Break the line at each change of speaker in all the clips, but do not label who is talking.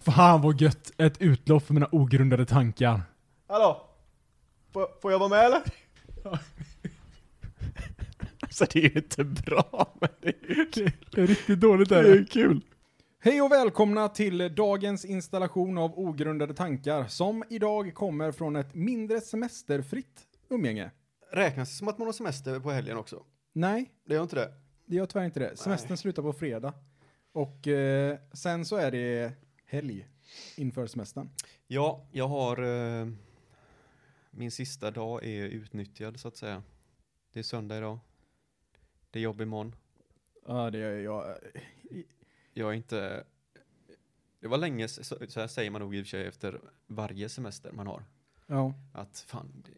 Fan vad gött! Ett utlopp för mina ogrundade tankar.
Hallå? Får, får jag vara med eller?
Alltså det är ju inte bra, men det är ju kul.
Det är riktigt dåligt
Det är ju kul.
Hej och välkomna till dagens installation av ogrundade tankar som idag kommer från ett mindre semesterfritt umgänge.
Räknas det som att man har semester på helgen också?
Nej,
Det gör inte det?
det gör tyvärr inte det. Semestern slutar på fredag. Och eh, sen så är det helg inför semestern.
Ja, jag har... Eh, min sista dag är utnyttjad så att säga. Det är söndag idag. Det är jobb imorgon.
Ja, det gör jag.
Jag är inte... Det var länge, s- så, så här säger man nog i och för sig efter varje semester man har.
Ja.
Att fan, det-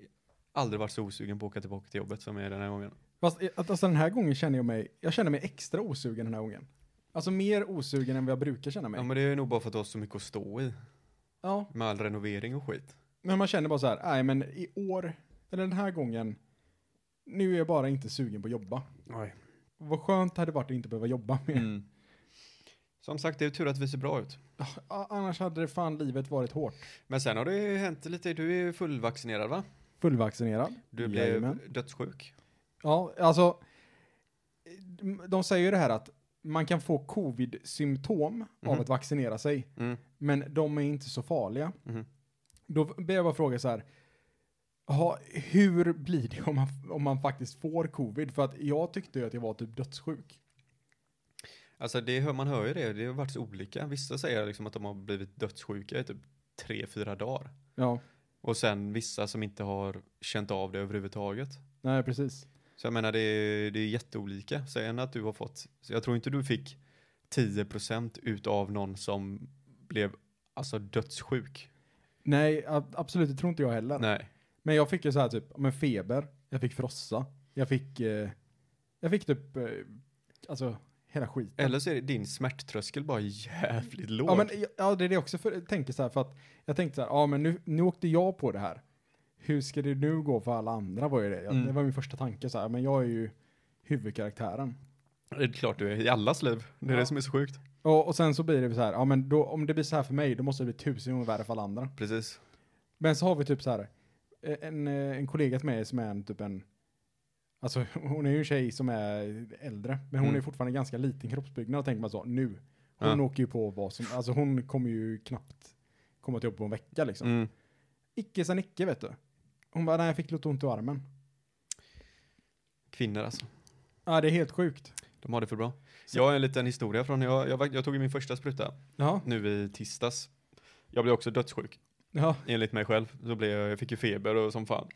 aldrig varit så osugen på att åka tillbaka till jobbet som jag är den här gången.
Fast eh, alltså, den här gången känner jag mig, jag känner mig extra osugen den här gången. Alltså mer osugen än vad jag brukar känna mig.
Ja men det är nog bara för att du har så mycket att stå i.
Ja,
Med all renovering och skit.
Men man känner bara så här, nej men i år, eller den här gången, nu är jag bara inte sugen på att jobba.
Nej.
Vad skönt hade det varit att inte behöva jobba mer.
Mm. Som sagt, det är tur att vi ser bra ut.
A- Annars hade det fan livet varit hårt.
Men sen har det ju hänt lite, du är ju fullvaccinerad va?
Fullvaccinerad.
Du blev
Jajamän.
dödssjuk.
Ja, alltså, de säger ju det här att man kan få covid-symptom av
Mhm.
att vaccinera sig,
Mm.
men de är inte så farliga.
Mhm.
Då ber jag bara fråga så här, ha, hur blir det om man, om man faktiskt får covid? För att jag tyckte ju att jag var typ dödssjuk.
Alltså det, hör- man hör ju det, det har varit så olika. Vissa säger liksom att de har blivit dödssjuka i typ tre, fyra dagar.
Ja,
Och sen vissa som inte har känt av det överhuvudtaget.
nej precis.
Så jag menar det är, det är jätteolika. Säg en att du har fått, så jag tror inte du fick 10% utav någon som blev alltså dödssjuk.
Nej, ab- absolut, det tror inte jag heller.
Nej.
Men jag fick ju så här typ, men feber, jag fick frossa, jag fick, eh, jag fick typ, eh, alltså hela skiten.
Eller så är det din smärttröskel bara jävligt låg.
Ja men jag- ja, det är det också för, jag tänker så här för att jag tänkte så här, ja men nu, nu åkte jag på det här. Hur ska det nu gå för alla andra var ju det. Jag,
Mm.
Det var min första tanke så här, men jag är ju huvudkaraktären.
Det är klart du är i allas liv. Det är
Ja.
det som är så sjukt.
Och, och sen så blir det så här, ja men då, om det blir så här för mig, då måste det bli tusen gånger värre för alla andra.
Precis.
Men så har vi typ så här, eh, en, eh, en kollega till mig som är en, typ en, alltså hon är ju en tjej som är äldre, men hon
Mm.
är fortfarande ganska liten kroppsbyggnad, tänker man så, nu. Hon
Ja.
åker ju på vad som, alltså hon kommer ju knappt komma till jobb på en vecka liksom.
Mm.
Icke sen icke vet du. Hon bara, nej jag fick lite ont i armen.
Kvinnor alltså.
Ja, det är helt sjukt.
De har det för bra. Jag har en liten historia från, jag, jag, var- jag tog ju min första spruta
Ja,
nu i tisdags. Jag blev också dödssjuk,
ja,
enligt mig själv. Så blev jag, jag fick ju feber och som fan.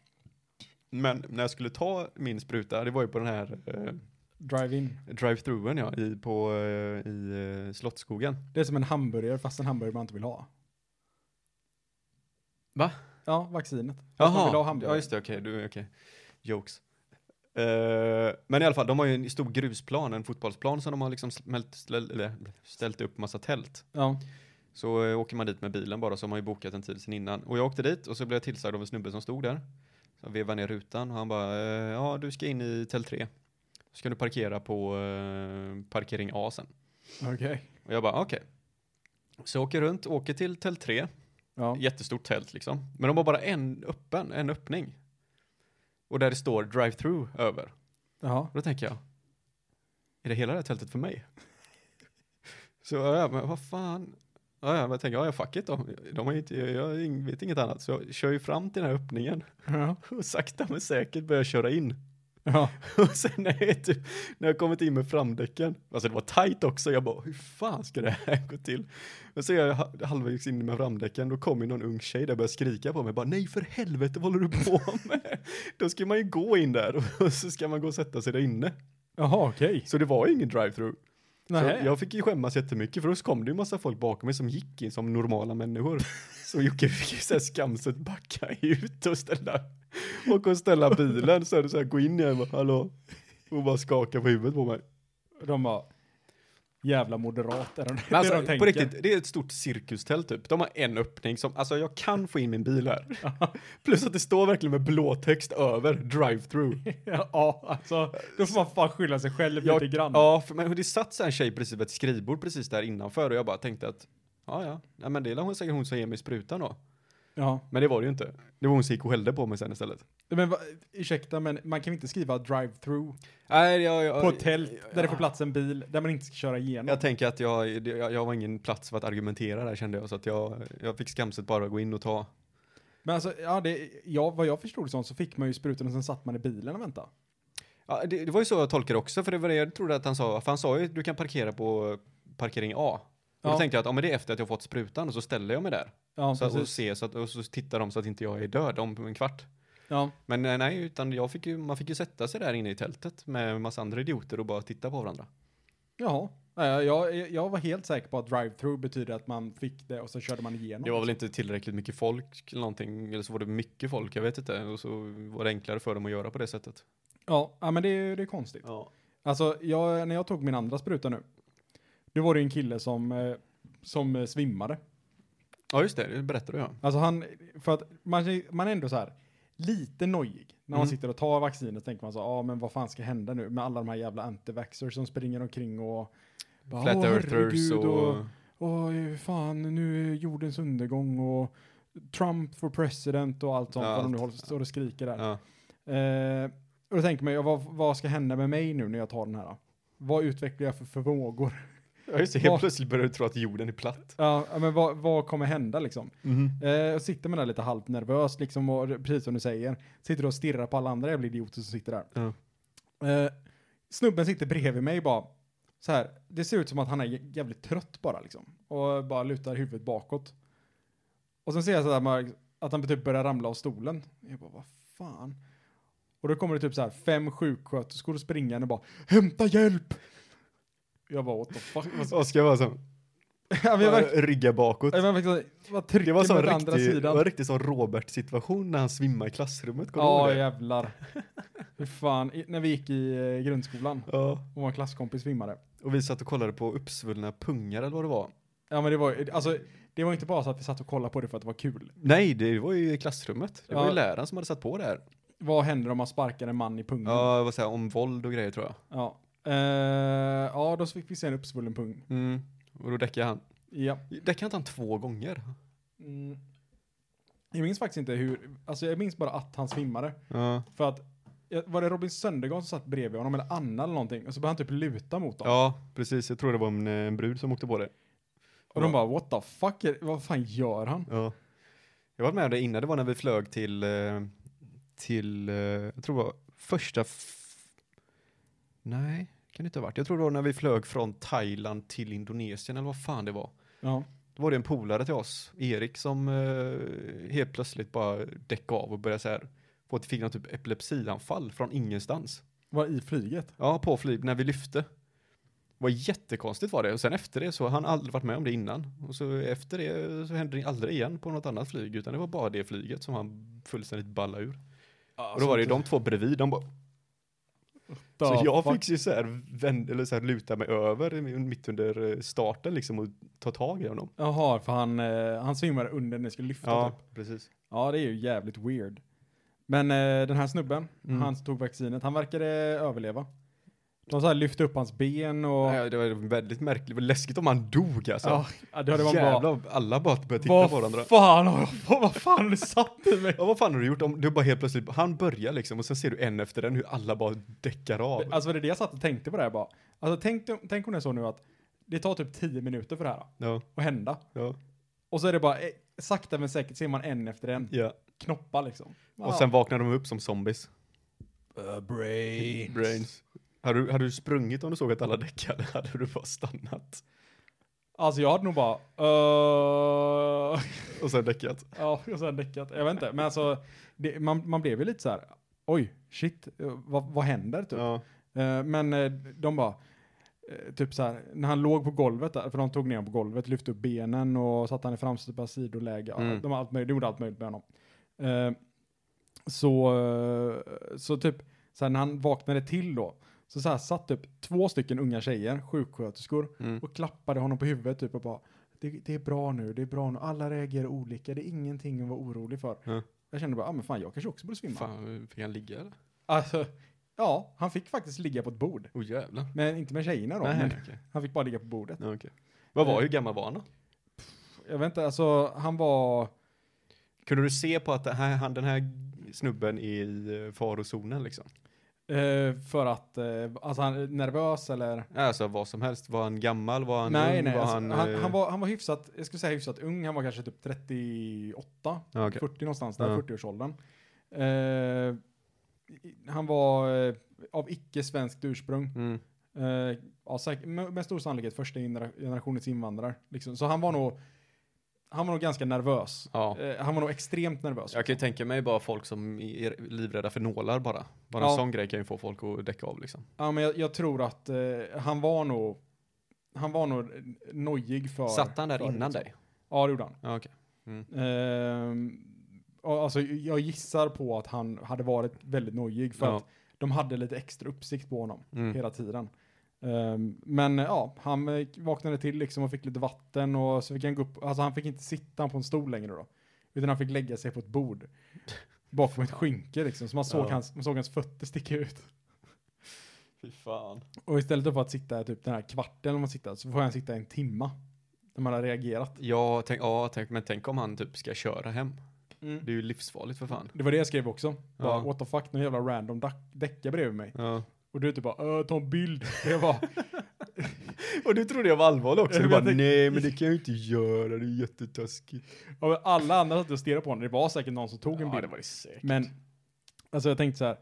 Men när jag skulle ta min spruta, det var ju på den här eh,
drive-in.
drive-thruen ja, i, på, eh, i eh, Slottsskogen.
Det är som en hamburgare, fast en hamburgare man inte vill ha.
Va?
Ja, vaccinet. Fast man vill ha hamburgare.
ja just det, okej, du, okej. Jokes. Eh, men i alla fall, de har ju en stor grusplan, en fotbollsplan som de har liksom smält, släll- eller, ställt upp massa tält.
Ja,
Så eh, åker man dit med bilen bara, så har man ju bokat en tid sen innan. Och jag åkte dit och så blev jag tillsagd av en snubbe som stod där. Så jag vevade ner rutan och han bara, eh, ja du ska in i tält 3. Så ska du parkera på eh, parkering A sen.
okej.
Och jag bara, okej. Så jag åker runt, åker till tält 3.
Ja.
Jättestort tält liksom. Men de har bara en öppen, en öppning. Och där det står drive-through över.
Jaha.
Och då tänker jag, är det hela det här tältet för mig? Så ja, men vad fan. Ja, ja, men jag tänker, ja, ja, fuck it då. De har ju inte, jag, jag vet inget annat. Så jag kör ju fram till den här öppningen
Ja.
och sakta men säkert börjar jag köra in.
Ja.
Och sen när jag, är typ, när jag kommit in med framdäcken, alltså det var tajt också, jag bara hur fan ska det här gå till? Men så är jag ha- halvvägs in med framdäcken, då kommer någon ung tjej där och börjar skrika på mig, bara nej för helvete vad håller du på med? då ska man ju gå in där och så ska man gå och sätta sig där inne.
Jaha, okej.
Så det var ju ingen drive-through. Så
Nähä.
jag fick ju skämmas jättemycket för då kom det ju massa folk bakom mig som gick in som normala människor. Så Jocke fick ju såhär skamset backa ut och ställa, och och ställa bilen så här, så här gå in igen och bara, hallå. Och bara skaka på huvudet på mig.
De bara, jävla moderat är de, det
Men alltså,
är de
på
tänker.
riktigt, det är ett stort cirkustält typ. De har en öppning som, alltså jag kan få in min bil här. Plus att det står verkligen med blåtext över, drive-through.
ja, alltså, då får man fan skylla sig själv
Jag-
lite grann.
Ja, för men det satt så här en tjej precis vid ett skrivbord precis där innanför och jag bara tänkte att Ja, ja. ja men det är hon säkert hon som ger mig sprutan då.
Ja.
Men det var det ju inte. Det var hon som gick och hällde på mig sen istället.
Men va, ursäkta, men man kan ju inte skriva drive-through
Nej, jag, jag,
på ett tält där det får plats en bil där man inte ska köra igenom.
Jag tänker att jag, det- jag, jag var ingen plats för att argumentera där kände jag. Så att jag, jag fick skamset bara gå in och ta.
Men alltså, ja, det, ja, vad jag förstod det som så fick man ju sprutan och sen satt man i bilen och väntade.
Ja, det, det var ju så jag tolkade också. För det var det jag trodde att han sa. För han sa ju du kan parkera på parkering A. Och
Ja.
då tänkte jag att ja, men det är efter att jag fått sprutan och så ställer jag mig där.
Ja,
Så att, och,
precis.
ser, så att, och så tittar de så att inte jag är död om en kvart.
Ja.
Men eh, nej, utan jag fick ju, man fick ju sätta sig där inne i tältet med en massa andra idioter och bara titta på varandra.
Jaha. Nej, Jag, jag, jag var helt säker på att drive-through betyder att man fick det och så körde man igenom.
Det var väl inte tillräckligt mycket folk eller någonting, eller så var det mycket folk, jag vet inte. Och så var det enklare för dem att göra på det sättet.
Ja, ja, men det, är- det är konstigt.
Ja.
Alltså, jag, när jag tog min andra spruta nu, då var det ju en kille som, eh, som eh, svimmade.
Ja just det, det berättade jag.
Alltså han, för att man, man är ändå så här lite nojig. När man
Mm.
sitter och tar vaccinet tänker man så, ja ah, men vad fan ska hända nu med alla de här jävla antivaxxers som springer omkring och bara,
Flat
"Åh,
earthers
herregud",
och...
Åh, fan, nu är jordens undergång och Trump for president och allt sånt.
Ja,
vad de nu
allt.
håller, står och skriker där.
Ja.
Eh, och då tänker man, ja, vad, vad ska hända med mig nu när jag tar den här? Då? Vad utvecklar jag för förmågor?
ja just det,
Var-
helt plötsligt började du tro att jorden är platt.
ja, men vad, vad kommer hända liksom? Eh, och sitter man där lite halvt nervös liksom, och, precis som du säger. Sitter och stirrar på alla andra jävla idioter som sitter där.
Ja.
Eh, snubben sitter bredvid mig bara, så här, det ser ut som att han är jä- jävligt trött bara liksom. Och bara lutar huvudet bakåt. Och sen ser jag så där, Mark, att han typ börjar ramla av stolen. Jag bara, vad fan? Och då kommer det typ så här fem sjuksköterskor springande och bara, hämta hjälp! Jag bara, what the fuck?
Oskar var så,
ja, men jag verkligen,
rygga bakåt.
jag verkligen, vad
Det
trycker
var
mig
så
åt
en
andra
riktig, det
sidan?
var en riktig sån Robert-situation när han svimmade i klassrummet, kommer du
Ja,
ihåg det?
jävlar. Hur fan, i, när vi gick i eh, grundskolan
ja.
och vår klasskompis svimmade.
Och vi satt och kollade på uppsvullna pungar eller vad det var.
Ja men det var ju- alltså, det var inte bara så att vi satt och kollade på det för att det var kul.
Nej, det var ju i klassrummet. Det var
Ja. Mm.
ju läraren som hade satt på det här.
Vad händer om man sparkar en man i pungen?
Ja, vad säger jag, om våld och grejer tror jag.
Ja, Eh, ja då fick vi se en uppsvullen pung.
Mm. Och då däckade han.
Ja.
Däckade inte han två gånger?
Mm. Jag minns faktiskt inte hur, alltså jag minns bara att han svimmade.
Ja.
För att, eh, var det Robin Söndergård som satt bredvid honom eller Anna eller någonting? Och så började han typ luta mot dem.
Ja, precis. Jag tror det var en, eh, en brud som åkte på det.
och de bara what the fuck, är, vad fan gör han?
Ja. Jag var med om det innan, det var när vi flög till, eh, till, eh, jag tror det var första, f- nej, kan det inte ha varit. Jag tror det var när vi flög från Thailand till Indonesien eller vad fan det var.
Ja.
Då var det en polare till oss, Erik, som eh, helt plötsligt bara däckade av och började så här, få ett, fick någon typ epilepsianfall från ingenstans.
Var i flyget?
Ja, på flyg när vi lyfte. Det var jättekonstigt var det. Och sen efter det så har han aldrig varit med om det innan. Och så efter det så hände det aldrig igen på något annat flyg. Utan det var bara det flyget som han fullständigt ballade ur. och
Alltså
då var det ju de två bredvid. De bara, så jag fick ju så här, vänd, eller så här luta mig över mitt under eh, starten liksom och ta tag i honom.
Jaha, för han, eh, han svimmade under när ni skulle lyfta
Ja,
typ.
precis.
Ja, det är ju jävligt weird. Men eh, den här snubben,
Mm.
han som tog vaccinet, han verkade överleva. De så här lyfte upp hans ben och...
Ja, det var väldigt märkligt. Det var läskigt om han dog alltså.
Ja, ja, det hade man bara...
Jävlar, alla bara började titta
Vad
på varandra.
fan har jag- vad, vad fan har du satt i mig?
Ja, vad fan har du gjort? Om du bara helt plötsligt, han börjar liksom och sen ser du en efter den hur alla bara däckar av.
Alltså det är det jag satt och tänkte på det här bara. Alltså tänk, om- tänk om det är så nu att det tar typ 10 minuter för det här
Ja,
att hända.
ja,
Och så är det bara, eh, sakta men säkert ser man en efter en
ja.
knoppa liksom.
Och sen vaknar de upp som zombies.
brain.
Brains. Hade du, hade du sprungit om du såg att alla däckade? Hade du bara stannat?
Alltså jag hade nog bara, eh,
Och sen däckat?
Ja, och sen däckat. Jag vet inte, men alltså, det, man, man blev ju lite så här, oj, shit, eh, vad, vad händer typ?
Ja.
Eh, men eh, de bara, eh, typ så här, när han låg på golvet där, för de tog ner honom på golvet, lyfte upp benen och satte han i framstupa sidoläge. Mm.
Mm.
De, har allt möjligt, de gjorde allt möjligt med honom. Eh, så, eh, så typ, så här, när han vaknade till då, så, så här, satt typ två stycken unga tjejer, sjuksköterskor,
Mm.
och klappade honom på huvudet typ och bara det, det är bra nu, det är bra nu, alla reagerar olika, det är ingenting att vara orolig för.
Ja.
Jag kände bara, ah, men fan jag kanske också borde svimma.
Fan, fick han ligga eller?
Alltså, ja, han fick faktiskt ligga på ett bord.
Åh oh, jävlar.
Men inte med tjejerna då,
Nej,
men
okej. Eh.
han fick bara ligga på bordet.
Ja, okej. Vad var, hur gammal var han då?
jag vet inte, alltså han var,
Kunde du se på att det här, han, den här snubben är i eh, farozonen liksom?
eh, för att, eh, alltså han är nervös eller?
Alltså vad som helst, var han gammal, var han
nej,
ung,
nej,
var
alltså,
han...
han,
eh,
han, var, han var hyfsat, jag skulle säga hyfsat ung, han var kanske typ 38,
Ja, okej.
40 någonstans där,
Ja.
40-årsåldern. Eh, i- han var eh, av icke-svenskt ursprung.
Mm.
Eh, ja, säkert, med, med stor sannolikhet första genera- generationens invandrare. Liksom. Så han var nog, han var nog ganska nervös.
Ja.
Eh, han var nog extremt nervös.
Jag kan ju tänka mig bara folk som är livrädda för nålar bara. Bara
Ja.
en sån grej kan ju få folk att däcka av liksom.
Ja, men jag, jag tror att eh, han var nog, han var nog nojig för...
Satt han där
för,
innan
liksom.
dig?
Ja, det gjorde han.
Ja, okej.
Ehm, ja, alltså, jag gissar på att han hade varit väldigt nojig för
Ja.
att de hade lite extra uppsikt på honom
Mm.
hela tiden. Ehm, men eh, ja, han eh, vaknade till liksom och fick lite vatten och så fick han gå upp, alltså han fick inte sitta på en stol längre då. Utan han fick lägga sig på ett bord. Bakom ett skynke liksom, så man såg,
Ja.
hans, man såg hans fötter sticka ut.
Fy fan.
Och istället för att sitta typ den här kvarten man sitter, så får han sitta en timma. När man har reagerat.
Ja, tänk, ja tänk, men tänk om han typ ska köra hem.
Mm.
Det är ju livsfarligt för fan.
Det var det jag skrev också. Bara,
Ja.
What the fuck, någon jävla random dack- däckare bredvid mig.
Ja.
Och du typ bara, "Ö, ta en bild. Det var,
Och du trodde jag var allvarlig också.
Ja,
Du
men
bara,
jag tänkte-
nej men det kan jag ju inte göra, det är jättetaskigt.
ja, men alla andra satt och stirrade på honom, det var säkert någon som tog en
Ja,
bild.
det var det säkert.
Men, alltså jag tänkte så här.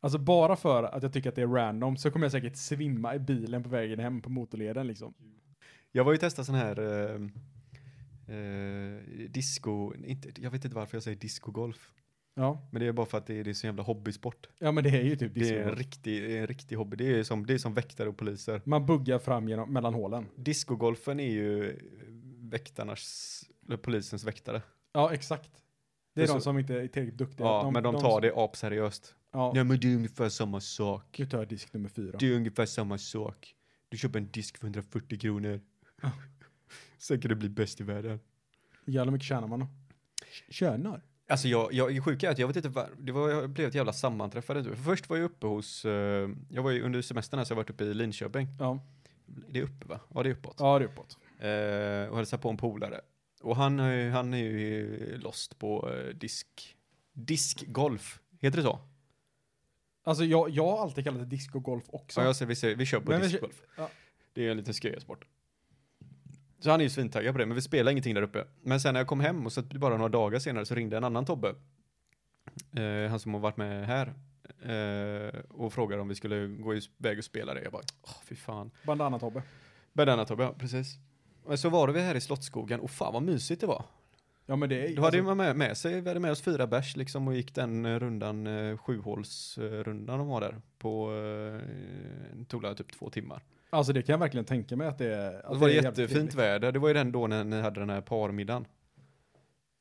Alltså bara för att jag tycker att det är random så kommer jag säkert svimma i bilen på vägen hem på motorleden liksom.
Jag var ju testa sån här eh, eh, disco, inte, jag vet inte varför jag säger discogolf.
Ja,
Men det är bara för att det är, det är så jävla hobbysport.
ja men det är ju typ
Det är en
disco.
riktig, det är en riktig hobby. Det är som, det är som väktare och poliser.
Man buggar fram genom, mellan hålen.
Discogolfen är ju eh, väktarnas, eller polisens väktare.
Ja, exakt. Det är
Det är
de
så-
som inte är tillräckligt duktiga.
Ja, men de tar det apseriöst.
Ja,
Nej men det är ungefär samma sak.
jag tar disk nummer fyra.
Det är ungefär samma sak. Du köper en disk för 140 kronor. Sen kan du bli bäst i världen.
Jävlar mycket tjänar man då? Tjänar?
Alltså jag, jag är sjuk är att jag vet inte var, det var, jag blev ett jävla sammanträffande. För först var jag uppe hos, eh, jag var ju under semestern här så jag har varit uppe i Linköping.
Ja,
Det är uppe va? Ja det är uppåt.
ja det är uppåt.
Eh, och hälsade på en polare. Och han, har ju- han är ju lost på eh, disk, diskgolf. Heter det så?
Alltså jag, jag har alltid kallat det discogolf också.
Ja, jag säger, vi, säger, vi kör på
Men vi kö-
diskgolf.
ja.
Det är en liten skojsport. Så han är ju svintaggad på det, men vi spelar ingenting där uppe. Men sen när jag kom hem och så bara några dagar senare så ringde en annan Tobbe. Eh, han som har varit med här. Eh, och frågade om vi skulle gå iväg och spela det. Jag bara, åh fy fan.
Bandana-Tobbe.
Bandana Tobbe, ja precis. Men så var det vi här i Slottsskogen och fan vad mysigt det var.
Ja men det är alltså,
Då hade man med, med sig, vi hade med oss fyra bärs liksom och gick den eh, rundan, eh, sjuhålsrundan de var där på, eh, tog det typ två timmar.
alltså det kan jag verkligen tänka mig att det är. Att
det var
är jävligt
jättefint
trevligt.
väder, det var ju den då när ni hade den här parmiddagen.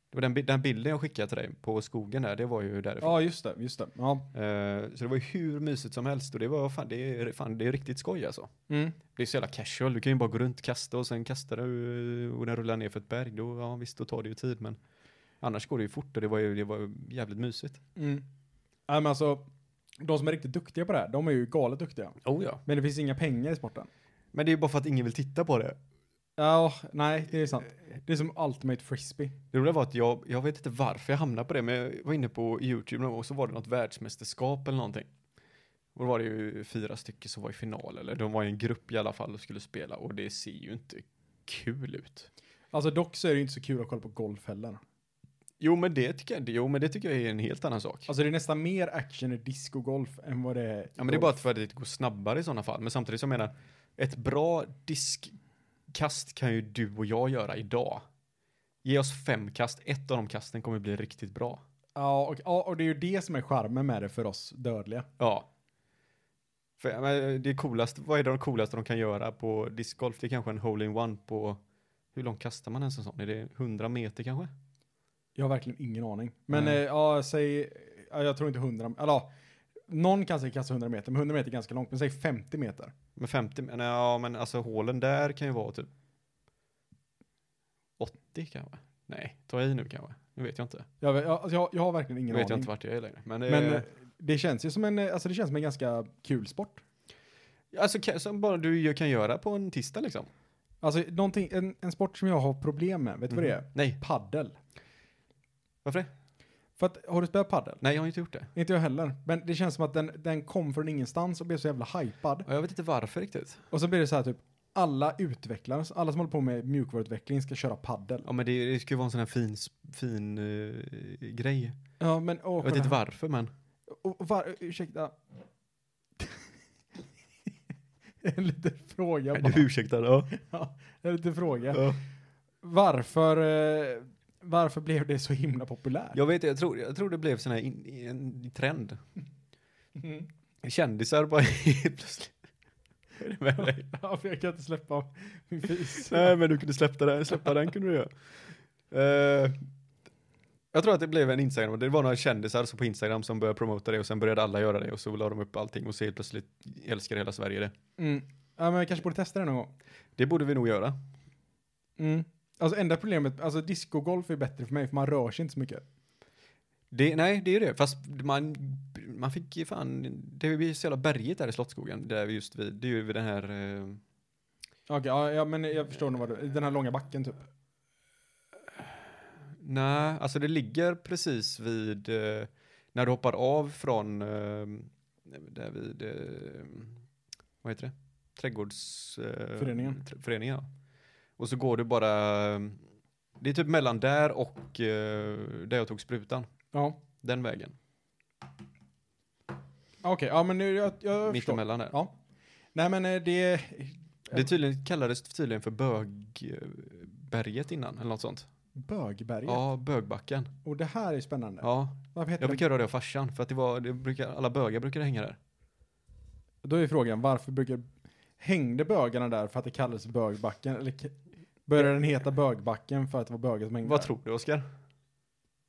Det var den, bi- den bilden jag skickade till dig på skogen där, det var ju därifrån.
Ja just det, just det. Ja.
Eh, så det var ju hur mysigt som helst och det var fan, det är, fan, det är riktigt skoj alltså.
Mm,
Det är så jävla casual, du kan ju bara gå runt, kasta och sen kastar du eh, och den rullar ner för ett berg. Då, ja visst, då tar det ju tid men annars går det ju fort och det var ju, det var ju jävligt mysigt.
Mm. Nej men alltså, de som är riktigt duktiga på det här, de är ju galet duktiga.
Oh ja.
Men det finns inga pengar i sporten.
Men det är ju bara för att ingen vill titta på det.
Ja, nej det är sant. Det är som Ultimate Frisbee.
Det roliga var att jag, jag vet inte varför jag hamnade på det, men jag var inne på YouTube någon gång och så var det något världsmästerskap eller någonting. Och då var det ju fyra stycken som var i final, eller de var i en grupp i alla fall och skulle spela och det ser ju inte kul ut.
Alltså dock så är det ju inte så kul att kolla på golf heller.
Jo men det tycker jag, jo, men det tycker jag är en helt annan sak.
Alltså det är nästan mer action i discogolf än vad det är i
ja men det är
golf.
bara för att det går snabbare i sådana fall, men samtidigt som jag menar, ett bra diskkast kan ju du och jag göra idag. Ge oss fem kast, ett av de kasten kommer bli riktigt bra.
Ja och, ja, och det är ju det som är charmen med det för oss dödliga.
Ja. För, ja, men eh, det är coolast, vad är det de coolaste de kan göra på discgolf? Det är kanske en hole-in-one på, hur långt kastar man ens en sån? Är det 100 meter kanske?
Jag har verkligen ingen aning. Men eh,
Nej.
ja, säg, ja, jag tror inte 100, eller ja, någon kan säkert kasta 100 meter, men 100 meter är ganska långt, men säg 50 meter.
Men 50, men ja men alltså hålen där kan ju vara typ 80 kanske? Nej, ta i nu kanske? Nu vet jag inte.
Jag, vet- jag, alltså, jag, jag har verkligen
Nu
ingen
vet jag
aning.
inte vart jag är längre. Men, det
men
är-
eh, det känns ju som en, eh, alltså det känns som en ganska kul sport.
alltså ka- som bara du ju kan göra på en tisdag liksom.
Alltså någonting, en, en sport som jag har problem med, vet du vad det är?
Mm. Nej,
Paddel.
varför det?
För att, har du spelat paddel?
Nej, jag har inte gjort det.
Inte jag heller. Men det känns som att den, den kom från ingenstans och blev så jävla hypad.
Och jag vet inte varför riktigt.
Och så blir det så här typ, alla utvecklare, alla som håller på med mjukvaruutveckling ska köra paddel.
Ja, men det, det ska ju vara en sån här fin, sp- fin eh, grej.
Ja, men och,
Jag vet inte varför, men.
och, och var, ursäkta. en liten fråga bara.
Du ursäktar, ja.
Ja, en liten fråga.
ja.
Varför, eh, varför blev det så himla populärt?
Jag vet jag tror, jag tror det blev sån här in, en trend.
Mm.
Kändisar bara helt plötsligt. Är det med dig?
Ja, för jag kan inte släppa min fis.
Nej, men du kunde släppa den, släppa den kunde du göra. Eh, jag tror att det blev en Instagram, det var några kändisar så på Instagram som började promota det och sen började alla göra det och så la de upp allting och så helt plötsligt älskar hela Sverige det.
Mm. Ja, men vi kanske borde testa det någon gång.
Det borde vi nog göra.
Mm. Alltså enda problemet, alltså discogolf är bättre för mig för man rör sig inte så mycket.
Det, nej, det är det. Fast man, man fick ju fan, det är ju så jävla berget där i Slottsskogen, där vi just vid, det är ju vid den här, eh,
Okej, ja, ja men jag förstår nog vad du, den här långa backen typ.
nej, alltså det ligger precis vid, eh, när du hoppar av från, eh, där vid, eh, vad heter det? Trädgårds... Eh,
Föreningen.
tr- föreningen, ja. Och så går du bara, eh, det är typ mellan där och eh, där jag tog sprutan,
Ja.
den vägen.
Okej, ja men nu, jag, jag förstår.
Mittemellan där.
Ja. Nej men eh, det,
Det tydligen, kallades tydligen för bögberget innan, eller något sånt.
Bögberget.
Ja, bögbacken.
Och det här är spännande.
Ja,
Varför heter
jag
det?
brukar höra det av farsan, för att det var, det brukar, alla bögar brukar hänga där.
Då är frågan, varför brukar, hängde bögarna där för att det kallades bögbacken? Eller k- började den heta bögbacken för att det var bögar som hängde
Vad
där?
tror du, Oskar?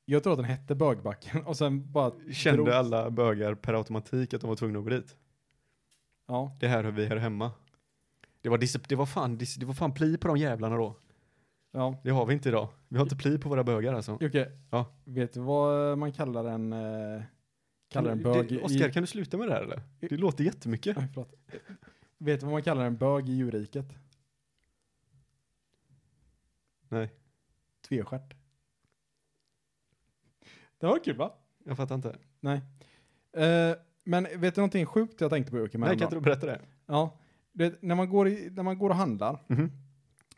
Jag tror att den hette bögbacken och sen bara,
Kände
Drogs.
alla bögar per automatik att de var tvungna att gå dit?
ja.
Det här hör vi här hemma. Det var, dis- det var fan, dis- det var fan pli på de jävlarna då.
ja.
Det har vi inte idag. Vi har inte pli på våra bögar alltså.
Jocke,
Ja.
vet du vad man kallar en, eh, kallar en bög
Det-
i-
Oskar, kan du sluta med det här eller? Det låter jättemycket.
Nej, förlåt. Vet du vad man kallar en bög i djurriket?
Nej.
Tvestjärt. Det var kul va?
Jag fattar inte.
Nej. Eh, men vet du någonting sjukt jag tänkte på Jocke? med
Nej, kan inte
häromdagen?
du berätta det?
Ja. Du vet, när, man går i, när man går och handlar.
Mhm.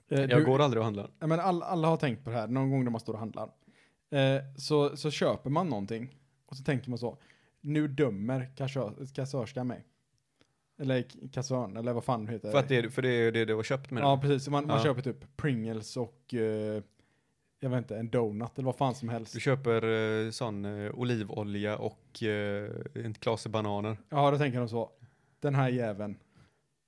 eh,
Jag
du,
går aldrig och handlar.
ja, men all, alla har tänkt på det här någon gång när man står och handlar. Eh, så, så köper man någonting. Och så tänker man så. Nu dömer kassör, kassörskan mig. Eller k- kassörn, eller vad fan det heter.
För att det, för det är det du har köpt med
Ja, precis. Så man, man
Ja.
köper typ Pringles och eh, jag vet inte, en donut eller vad fan som helst.
Du köper eh, sån eh, olivolja och eh, en klase bananer.
Ja, då tänker de så. Den här jäveln.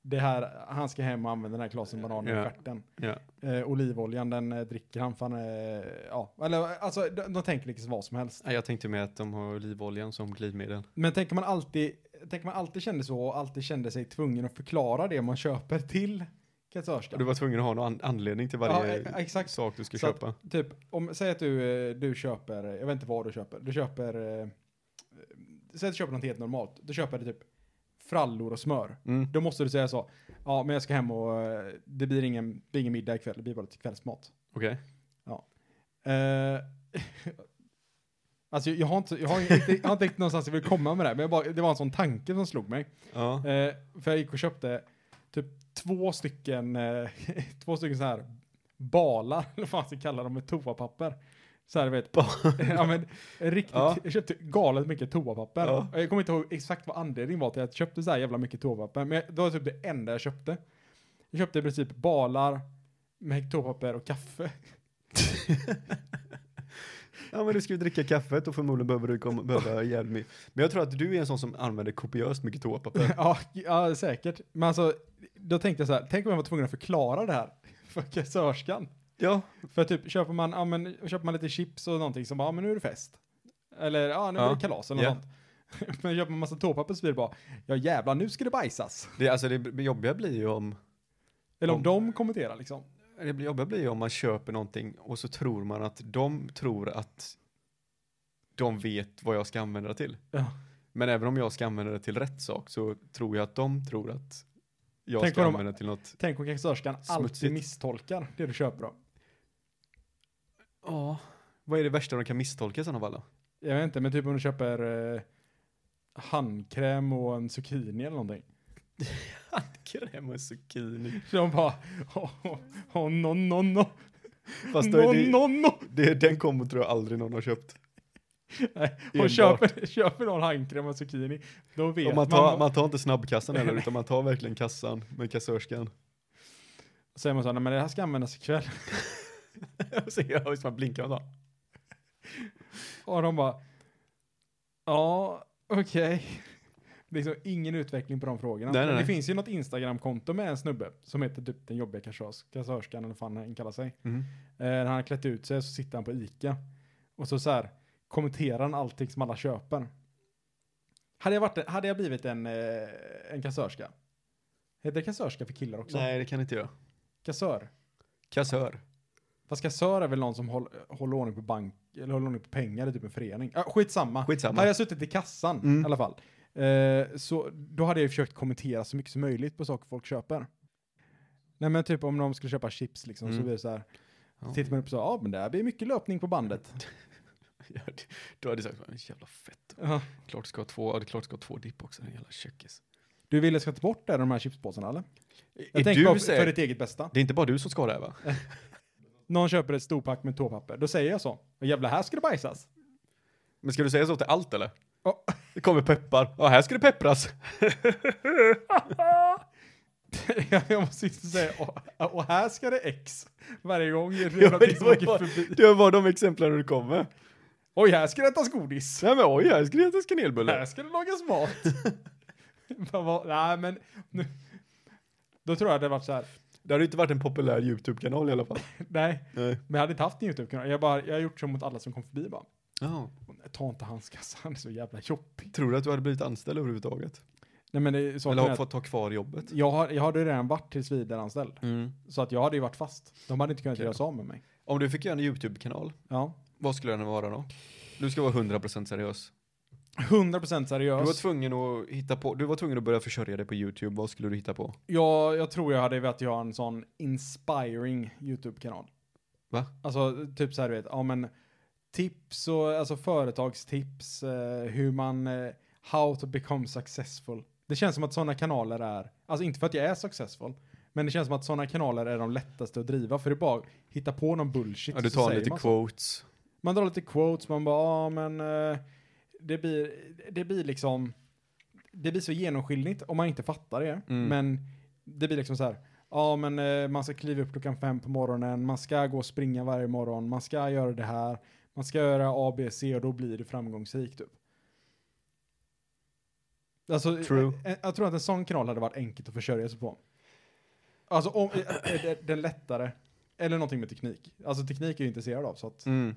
Det här, han ska hem och använda den här klasen bananer i
Ja.
stjärten.
Ja.
Eh, olivoljan, den eh, dricker han för han är, ja, eller alltså de, de tänker liksom vad som helst.
Nej, Jag tänkte med att de har olivoljan som glidmedel.
Men tänker man alltid, tänker man alltid kände så och alltid kände sig tvungen att förklara det man köper till kassörskan.
Du var tvungen att ha någon an- anledning till varje
Ja, e- exakt.
sak du ska
Så att-
köpa.
Typ, om, säg att du, eh, du köper, jag vet inte vad du köper, du köper, eh, eh, säg att du köper något helt normalt, du köper det typ frallor och smör.
Mm.
Då måste du säga så, ja men jag ska hem och eh, det blir ingen, det blir ingen middag ikväll, det blir bara lite kvällsmat.
Okej.
Eh, alltså jag har inte, jag har inte, jag har inte riktigt någonstans jag vill komma med det här, men jag bara, det var en sån tanke som slog mig.
Ja.
Eh, för jag gick och köpte typ två stycken, eh, två stycken så här balar, eller vad fan ska jag kalla dem, med toapapper. Så här, du vet. ja, men, riktigt,
Ja.
Jag köpte galet mycket toapapper.
Ja.
Jag kommer inte ihåg exakt vad anledningen var till att jag köpte så här jävla mycket toapapper, men det var typ det enda jag köpte. Jag köpte i princip balar med toapapper och kaffe.
ja, men du ska ju dricka kaffet och förmodligen behöver du komma, behöva hjälp med. Men jag tror att du är en sån som använder kopiöst mycket toapapper.
ja, ja, säkert. Men alltså, då tänkte jag så här, tänk om jag var tvungen att förklara det här för kassörskan.
ja.
För typ köper man, ja, men, köper man lite chips och någonting som bara, ja men nu är det fest. Eller ja, nu är
Ja.
det kalas eller
Ja.
något sånt. Men köper man massa toapapper så blir det bara, ja jävlar nu ska det bajsas.
Det, alltså det jobbiga blir ju om
Eller om,
Om-
de kommenterar liksom.
Det blir- jobbiga blir ju om man köper någonting och så tror man att de tror att de vet vad jag ska använda det till.
Ja.
Men även om jag ska använda det till rätt sak så tror jag att de tror att jag
Tänk
ska
vad de-
använda till något.
Tänk om kassörskan alltid
Smutsigt.
misstolkar det du köper av.
Ja. Vad är det värsta de kan misstolka i sådana fall då?
Jag vet inte, men typ om du köper eh, handkräm och en zucchini eller någonting.
Kräm och zucchini.
Så de bara, oh, oh, oh, no, no, no,
Fast då
no,
är det,
no, no.
det, den kommer tror jag aldrig någon har köpt.
Och
Enbart.
köper, köper någon handkräm och zucchini, då vet
Och man, tar, man tar inte snabbkassan heller utan man tar verkligen kassan med kassörskan.
Så säger man så här, nej men det här ska användas ikväll.
Och så jag man blinkar och så.
Och de bara, ja, okej. Liksom ingen utveckling på de frågorna.
Nej, nej,
Men det
nej.
finns ju något Instagram-konto med en snubbe som heter typ den jobbiga kassörs- kassörskan, eller vad fan han kallar sig.
Mm.
Eh, när han har klätt ut sig så sitter han på Ica. Och så, så här, kommenterar han allting som alla köper. Hade jag, varit, hade jag blivit en, eh, en kassörska? Heter det kassörska för killar också?
Nej det kan inte jag.
Kassör?
Kassör.
Fast kassör är väl någon som håll, håller ordning på bank, eller håller ordning på pengar i typ en förening. Äh, skitsamma.
Skitsamma.
Hade jag suttit i kassan
Mm.
i alla fall. Eh, så då hade jag ju försökt kommentera så mycket som möjligt på saker folk köper. Nej men typ om de skulle köpa chips liksom så
Mm.
blir det så här.
Ja.
Tittar man upp så, ja ah, men det här blir mycket löpning på bandet.
Ja, det- Då hade jag sagt, "Men jävla fett.
Ja.
Klart ska ha två, ja, det är klart ska ha två dipp också, den jävla kökis.
Du ville ska ta bort det, här, de här chipspåsarna eller? Jag
Är
tänker
du
bara för,
säker?
för ditt eget bästa.
Det är inte bara du som ska det här va?
Någon köper ett storpack med toapapper, då säger jag så. Och jävla här ska det bajsas.
Men ska du säga så till allt eller?
Ja.
Det kommer peppar. Ja, här ska det peppras.
jag jag måste inte säga, och, och här ska det X. Varje gång det är
Ja,
någonting
men det,
som
var
åker
ju bara,
förbi.
det var bara de exemplen du kom med.
Oj, här ska det ätas godis.
Nej men oj, här ska det ätas kanelbullar.
Här ska det lagas mat. Bara, vad- Nej, men... Nu, då tror jag det hade varit så här.
Det hade ju inte varit en populär YouTube-kanal i alla fall.
Nej,
Nej.
men jag hade inte haft en YouTube-kanal. Jag, bara- jag har gjort så mot alla som kom förbi bara.
Ja.
Ta inte hans kassa, han är så jävla jobbig.
Tror du att du hade blivit anställd överhuvudtaget?
Nej, men det är saken
Eller
är
har
att-
fått ta kvar jobbet?
Jag, har, jag hade ju redan varit tillsvidareanställd. Så att jag hade ju varit fast. De hade inte kunnat
Okej
göra sig av med mig.
Om du fick göra en YouTube-kanal,
Ja.
vad skulle den vara då? Du ska vara 100% seriös.
100%
Du var
seriös.
tvungen att hitta på, du var tvungen att börja försörja dig på YouTube, vad skulle du hitta på?
Jag, jag tror jag hade velat göra en sån inspiring YouTube-kanal.
Va?
Alltså typ så här du vet, ja men tips och alltså företagstips, eh, hur man, eh, how to become successful. Det känns som att sådana kanaler är, alltså inte för att jag är successful, men det känns som att sådana kanaler är de lättaste att driva för det är bara att hitta på någon bullshit.
Ja, du
så
tar
säger
lite
man så.
quotes.
Man drar lite quotes, man bara, ah, men eh, det, blir, det blir liksom, det blir så genomskinligt om man inte fattar det.
Mm.
Men det blir liksom så här, ja men eh, man ska kliva upp klockan fem på morgonen, man ska gå och springa varje morgon, man ska göra det här, man ska göra A, B, C och då blir du framgångsrik typ. Alltså,
True.
Jag, jag tror att en sån kanal hade varit enkelt att försörja sig på. Alltså om, eh, eh, den lättare, eller någonting med teknik. Alltså teknik är jag intresserad av så att
Mm.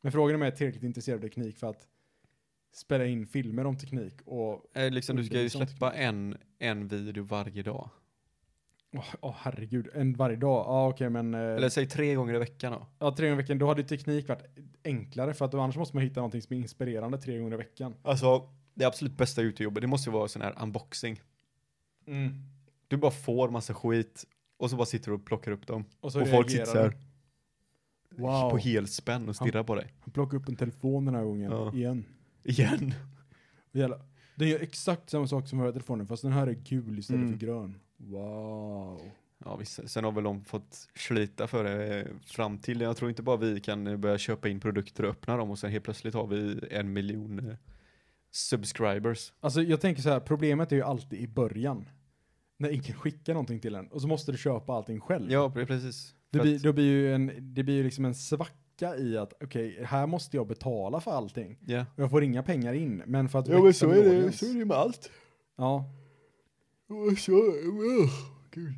men frågan är om jag är tillräckligt intresserad av teknik för att spela in filmer om teknik och,
Eh, liksom, du ska ju
Undervisning.
släppa en, en video varje dag.
åh åh, herregud, en varje dag. Ja okej men, eh,
Eller säg tre gånger i veckan då.
ja, tre gånger i veckan, då hade ju teknik varit enklare för att då, annars måste man hitta någonting som är inspirerande tre gånger i veckan.
Alltså, det absolut bästa YouTube-jobbet, det måste ju vara sån här unboxing. Mm. Du bara får massa skit och så bara sitter du och plockar upp dem.
så
och folk
reagerar
sitter så här
de. Wow,
på helspänn och stirrar på dig.
han plockade upp en telefon den här gången,
Ja.
igen.
Igen.
Och jävla- Den gör exakt samma sak som den här telefonen fast den här är gul istället
Mm.
för grön. Wow.
Ja, visst. Sen har väl de fått slita för det eh, fram till. Jag tror inte bara vi kan eh, börja köpa in produkter och öppna dem och sen helt plötsligt har vi en miljon eh, subscribers.
Alltså jag tänker så här, problemet är ju alltid i början. När ingen skickar någonting till en och så måste du köpa allting själv.
Ja, pre- precis.
Det
För
blir,
att-
då blir ju en, det blir ju liksom en svacka i att okej, här måste jag betala för allting.
Ja.
Och jag får inga pengar in, men för att
Ja men
växa
så
min
är det,
audience-
så är det med allt.
Ja,
Och så, uh, gud.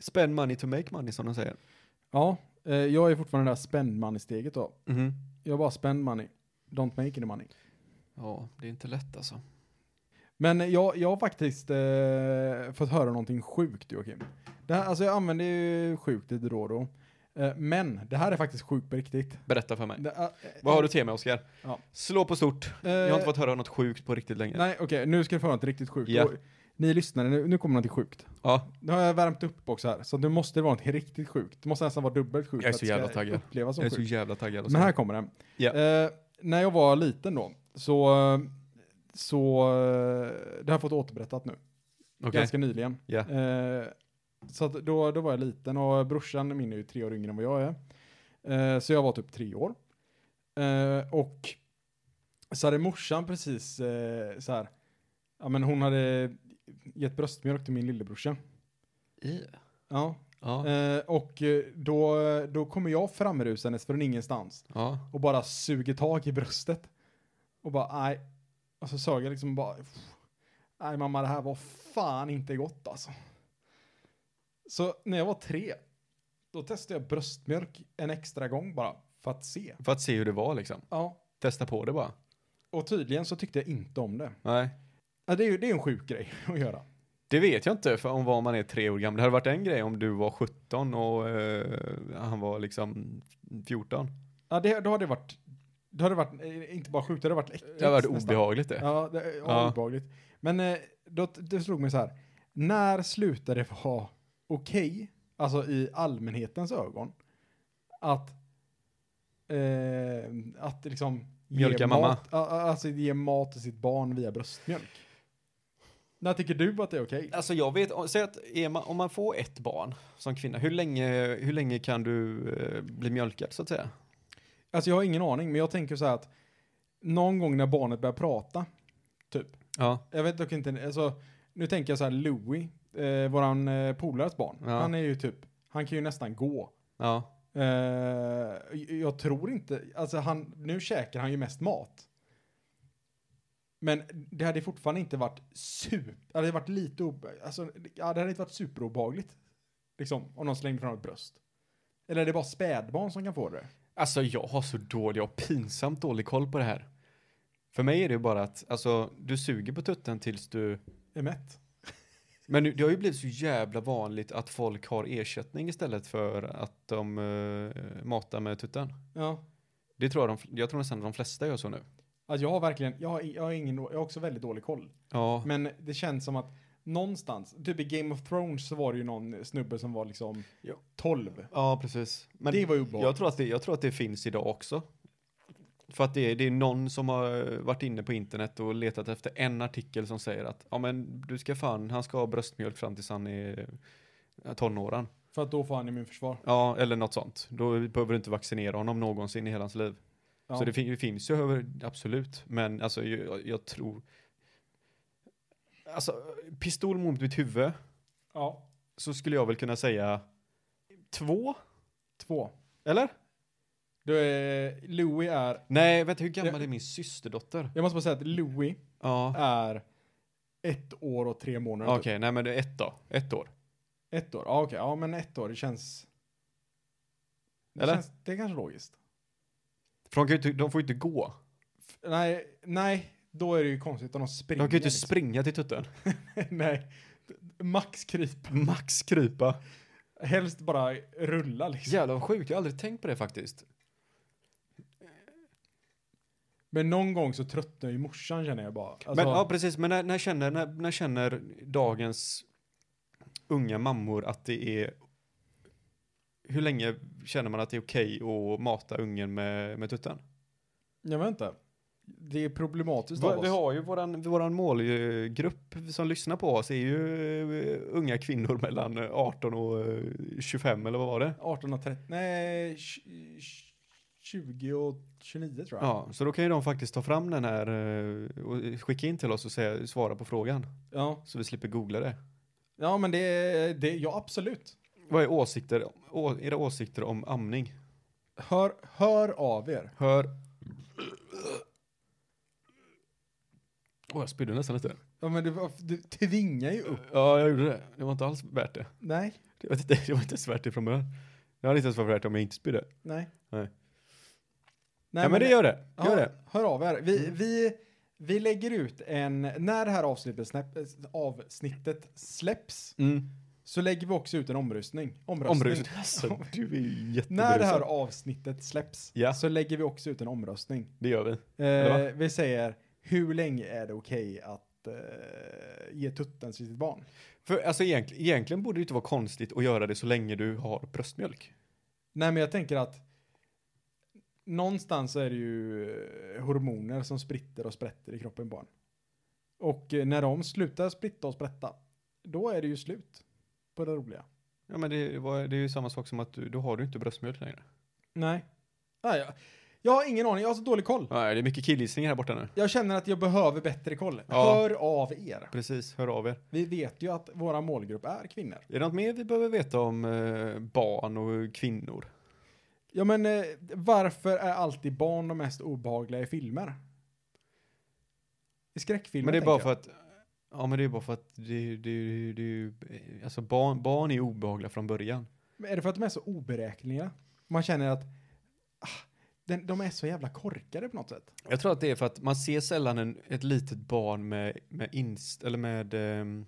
Spend money to make money som de säger.
ja eh, jag är fortfarande det där spend money-steget då.
Mhm.
Jag bara spend money, don't make any money.
Ja, det är inte lätt alltså.
Men jag, jag har faktiskt eh, fått höra någonting sjukt Joakim. Det här, alltså jag använder ju sjukt lite då och då. Eh, men det här är faktiskt sjukt på riktigt.
Berätta för mig.
Det, eh,
Vad har du till mig Oskar?
Ja.
Slå på stort.
eh,
Jag har inte fått höra något sjukt på riktigt länge.
Nej, okej, nu ska du få något riktigt sjukt.
Ja.
Och Ni lyssnare, nu, nu kommer något sjukt.
Ja,
Nu har jag värmt upp också här, så nu måste det vara något riktigt sjukt. Det måste nästan vara dubbelt sjukt.
Jag
för
är så
att det
jävla
ska
taggad.
Upplevas som
jag är så
sjukt.
jävla taggad. alltså.
Men här kommer den.
Ja.
Eh, när jag var liten då, så, så, eh, det har jag fått återberättat nu.
Okej.
ganska nyligen.
Ja.
Eh, så att då, då var jag liten och brorsan min är ju tre år yngre än vad jag är. Eh, så jag var typ tre år. Eh, och så hade morsan precis eh, så här, ja men hon hade gett bröstmjölk till min lillebrorsa. Ja,
Ja,
eh, och eh, då, då kommer jag framrusandes från ingenstans
ja.
och bara suger tag i bröstet. Och bara nej. Och så sög jag liksom bara. "Pff, Nej mamma det här var fan inte gott alltså. Så när jag var tre. Då testade jag bröstmjölk en extra gång bara. För att se.
För att se hur det var liksom.
Ja.
Testa på det bara.
Och tydligen så tyckte jag inte om det.
Nej.
Ja, det är ju det är en sjuk grej att göra.
Det vet jag inte för om vad man är tre år gammal. Det hade varit en grej om du var 17 och eh, han var liksom 14.
Ja, det, då har det varit. Då har det varit, eh, inte bara sjukt, det har varit äckligt.
Det hade varit
nästan.
obehagligt det.
Ja, det, ja,
Ja.
obehagligt. Men eh, då, det slog mig så här. När slutade det vara okej, alltså i allmänhetens ögon, att eh, att liksom ge
Mjölka
mat,
mamma.
a- a- alltså ge mat till sitt barn via bröstmjölk. När tycker du att det är okej?
Alltså jag vet, om- säg att är man, om man får ett barn som kvinna, hur länge, hur länge kan du eh, bli mjölkad så att säga?
Alltså jag har ingen aning, men jag tänker så här att någon gång när barnet börjar prata, typ.
Ja,
Jag vet dock inte, alltså nu tänker jag så här Louis, eh, våran eh, polares barn,
Ja.
han är ju typ, han kan ju nästan gå.
ja,
Eh, jag tror inte, alltså han, nu käkar han ju mest mat. Men det hade fortfarande inte varit super, det hade varit lite obe, alltså, ja, det hade inte varit superobehagligt. Liksom, om någon slängde från ett bröst. Eller är det bara spädbarn som kan få det?
Alltså jag har så dålig och pinsamt dålig koll på det här. För mig är det ju bara att, alltså du suger på tutten tills du...
Är mätt?
Men nu- det har ju blivit så jävla vanligt att folk har ersättning istället för att de eh, matar med tutten.
Ja.
Det tror jag, de, jag tror nästan de flesta gör så nu.
Alltså jag har verkligen, jag har, jag har ingen, jag har också väldigt dålig koll.
Ja,
Men det känns som att någonstans, typ i Game of Thrones så var det ju någon snubbe som var liksom
Ja.
12.
ja precis. Men
Det var ju obehagligt.
jag, tror att det, jag tror att det finns idag också. För att det är, det är någon som har varit inne på internet och letat efter en artikel som säger att ja men du ska fan, han ska ha bröstmjölk fram tills han är eh, tonåren.
För att då får han immunförsvar.
Ja, eller något sånt. Då behöver du inte vaccinera honom någonsin i hela hans liv.
Ja.
Så det, fin- det finns ju över, absolut. Men alltså jag, jag tror... Alltså, pistol mot mitt huvud
ja.
så skulle jag väl kunna säga två,
Två.
eller?
Då är, Louis är,
Nej, vänta, hur gammal
Ja.
är min systerdotter?
jag måste bara säga att Louis
Ja,
är ett år och tre månader.
okej,
typ.
nej men det är ett då, ett år.
Ett år, ja okej, ja men ett år, det känns... Det,
Eller?
Känns, det är kanske logiskt.
För de, kan ju inte, de får ju inte gå.
F- nej, nej, då är det ju konstigt om de
De
springer.
kan ju inte
liksom.
springa till tutten.
nej. Max kryp.
Max krypa.
Helst bara rulla liksom.
Jävlar vad sjukt, jag har aldrig tänkt på det faktiskt.
Men någon gång så tröttnar ju morsan känner jag bara. Alltså,
Men, ja, precis. Men när, när, känner, när, när känner dagens unga mammor att det är... Hur länge känner man att det är okej att mata ungen med, med tutten?
Jag vet inte. Det är problematiskt
Vi,
av
vi
oss.
har ju våran, våran målgrupp som lyssnar på oss är ju eh, unga kvinnor mellan eh, 18 och eh, 25 eller vad var det?
18 och 30, nej, tj- tj- 20 och 29 tror jag.
Ja, så då kan ju de faktiskt ta fram den här eh, och skicka in till oss och säga, svara på frågan.
ja.
Så vi slipper googla det.
Ja, men det, det ja absolut.
Vad är åsikter, å, era åsikter om amning?
Hör, hör av er.
Hör. Åh, jag spydde nästan lite.
Ja, men det var, du tvingar ju upp.
Ja, jag gjorde det. Det var inte alls värt det.
Nej,
Det var inte, det var inte ens värt det från början. Det hade inte ens varit värt det om jag inte spydde.
nej.
Nej.
Nej,
ja, men det gör det.
ja,
Gör det. Mm.
Hör av er. Vi, vi, vi lägger ut en, när det här avsnittet, snäpp, avsnittet släpps
Mm.
så lägger vi också ut en omröstning. Omröstning.
Omrusning. Alltså, du är ju
När det här
jättebrusad.
avsnittet släpps
Ja.
så lägger vi också ut en omröstning.
Det gör vi.
Eh,
va?
vi säger, hur länge är det okej att att eh, ge tuttens till sitt barn.
För alltså egentligen, egentligen borde det inte vara konstigt att göra det så länge du har bröstmjölk.
Nej, men jag tänker att någonstans så är det ju eh, hormoner som spritter och sprätter i kroppen på en. Och eh, när de slutar spritta och sprätta, då är det ju slut på det roliga.
Ja men det, var, det är ju samma sak som att du, då har du inte bröstmjölk längre.
Nej. Nej jag, jag har ingen aning, jag har så dålig koll.
Nej, det är mycket killgissningar här borta nu.
Jag känner att jag behöver bättre koll.
Ja.
Hör av er.
Precis, hör av er.
Vi vet ju att våra målgrupp är kvinnor.
Är det något mer vi behöver veta om eh, barn och kvinnor?
Ja men eh, varför är alltid barn de mest obehagliga i filmer? I skräckfilmer
men det är bara
tänker
för att Ja men det är bara för att det, det, det, det alltså barn, barn är obehagliga från början.
jag. Men Är det för att de är så oberäkneliga? Man känner att ah, den, de är så jävla korkade på något sätt.
Jag tror att det är för att man ser sällan en, ett litet barn med, med inst, eller med ehm,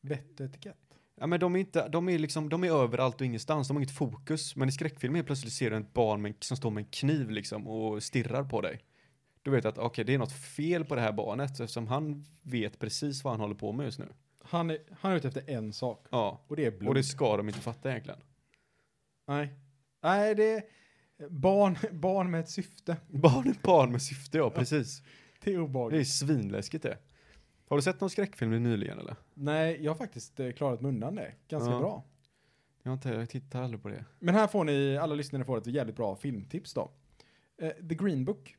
Vett och etikett.
Ja men de är inte, de är liksom, de är överallt och ingenstans, de har inget fokus. Men i skräckfilmer helt plötsligt ser du ett barn med, en- som står med en kniv liksom och stirrar på dig. Du vet att okej, det är något fel på det här barnet eftersom han vet precis vad han håller på med just nu.
Han är, han är ute efter en sak
Ja,
och det är blod.
och det ska de inte fatta egentligen.
Nej. Nej, det är barn, barn med ett syfte.
Barn är barn med syfte, ja precis.
Det är
Det
obehagligt.
är svinläskigt det. Har du sett någon skräckfilm nyligen eller?
Nej, jag har faktiskt eh, klarat mig undan det ganska
Ja.
bra.
Jag, har inte, jag tittar aldrig på det.
Men här får ni, alla lyssnare får ett jävligt bra filmtips då. Eh, The Green Book.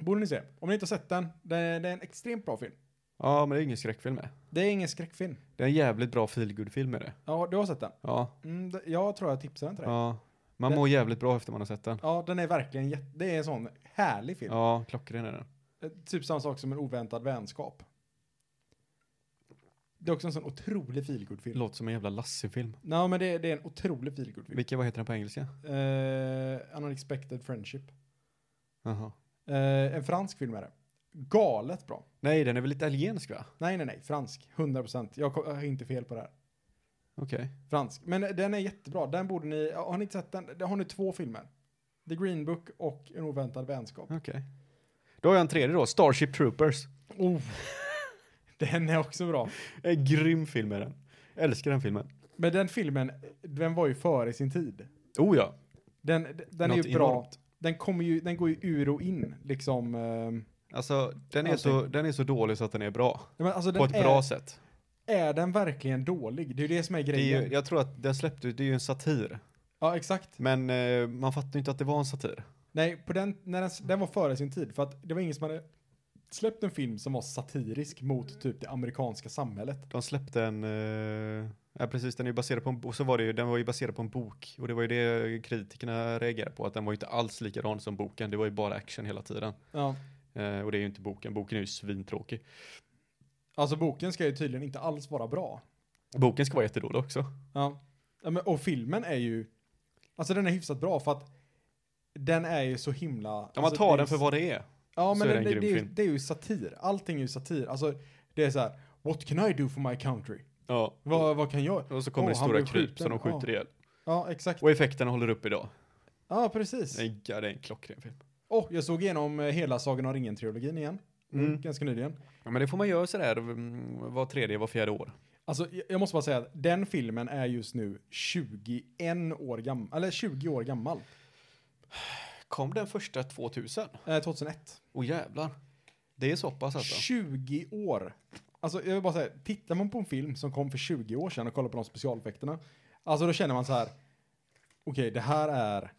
Borde ni se. Om ni inte har sett den, det är, det är en extremt bra film.
Ja, men det är ingen skräckfilm med.
Det är ingen skräckfilm.
Det är en jävligt bra feelgood-film är det.
Ja, du har sett den.
Ja,
Mm, d- jag tror jag tipsade den till dig. Ja.
ja. Man mår jävligt bra efter man har sett den.
den är verkligen jätte, det är en sån härlig film.
Ja, klockren är den.
Eh, Typ samma sak som en oväntad vänskap. Det är också en sån otrolig feelgood-film.
Låter som en jävla Lasse-film.
Nej, men det, det är en otrolig feelgood-film.
Vilka, vad heter den på engelska?
Eh, an unexpected friendship.
Jaha.
Eh, en fransk film är det. Galet bra.
Nej, den är väl italiensk va?
Nej, nej, nej. Fransk. 100 procent. Jag ko- jag har inte fel på det här.
Okej.
Fransk. Men den är jättebra. Den borde ni... Har ni inte sett den? Det har ni två filmer. The Green Book och En oväntad vänskap.
Okej. Då har jag en tredje då, Starship Troopers.
Oh. den är också bra.
En grym film är den. Älskar den filmen.
Men den filmen, den var ju före sin tid.
Oh ja.
Den, d- den är
Något
ju bra.
enormt.
Den kommer ju... Den går ju ur och in, liksom. Eh,
Alltså, den är, så, den är så dålig så att den är bra.
men alltså, den
På ett
är,
bra sätt.
är den verkligen dålig? Det är ju det som är
Det är
grejen.
ju, jag tror att den släppte, det är ju en satir.
Ja, exakt.
Men eh, man fattar ju inte att det var en satir.
Nej, på den, när den, den var före sin tid. För att det var ingen som hade släppt en film som var satirisk mot typ det amerikanska samhället.
De släppte en, eh, ja precis, den är ju baserad på en, bo- och så var det ju, den var ju baserad på en bok. Och det var ju det kritikerna reagerade på, att den var ju inte alls likadan som boken. Det var ju bara action hela tiden.
Ja.
Eh, och det är ju inte boken, boken är ju svintråkig.
Alltså boken ska ju tydligen inte alls vara bra.
Boken ska vara jättedålig också.
Ja. ja men, och filmen är ju, alltså den är hyfsat bra för att den är ju så himla...
Om man
alltså, det
tar
är
den
ju-
för vad det är.
Ja
så
men
är
det,
det en
det,
grym
är ju,
film.
det är ju satir. Allting är ju satir. Alltså det är så här, what can I do for my country?
Ja.
Vad, vad kan jag?
Och så kommer
Åh,
det
han
stora
blev
kryp
skjuten.
som de skjuter
Ja.
ihjäl.
Ja exakt.
Och effekterna håller upp idag.
Ja precis.
Nej, ja, det är en klockren film.
Och jag såg igenom eh, hela Sagan om ringen-trilogin igen.
Mm.
Ganska nyligen.
Ja, men det får man göra sådär mm, var tredje, var fjärde år.
Alltså, jag- jag måste bara säga att den filmen är just nu 21 år gammal, eller 20 år gammal.
Kom den första 2000?
Eh, 2001.
Åh jävlar. Det är så pass alltså.
20 år! Alltså, jag vill bara säga, tittar man på en film som kom för 20 år sedan och kollar på de specialeffekterna, alltså då känner man så här, okej, det här är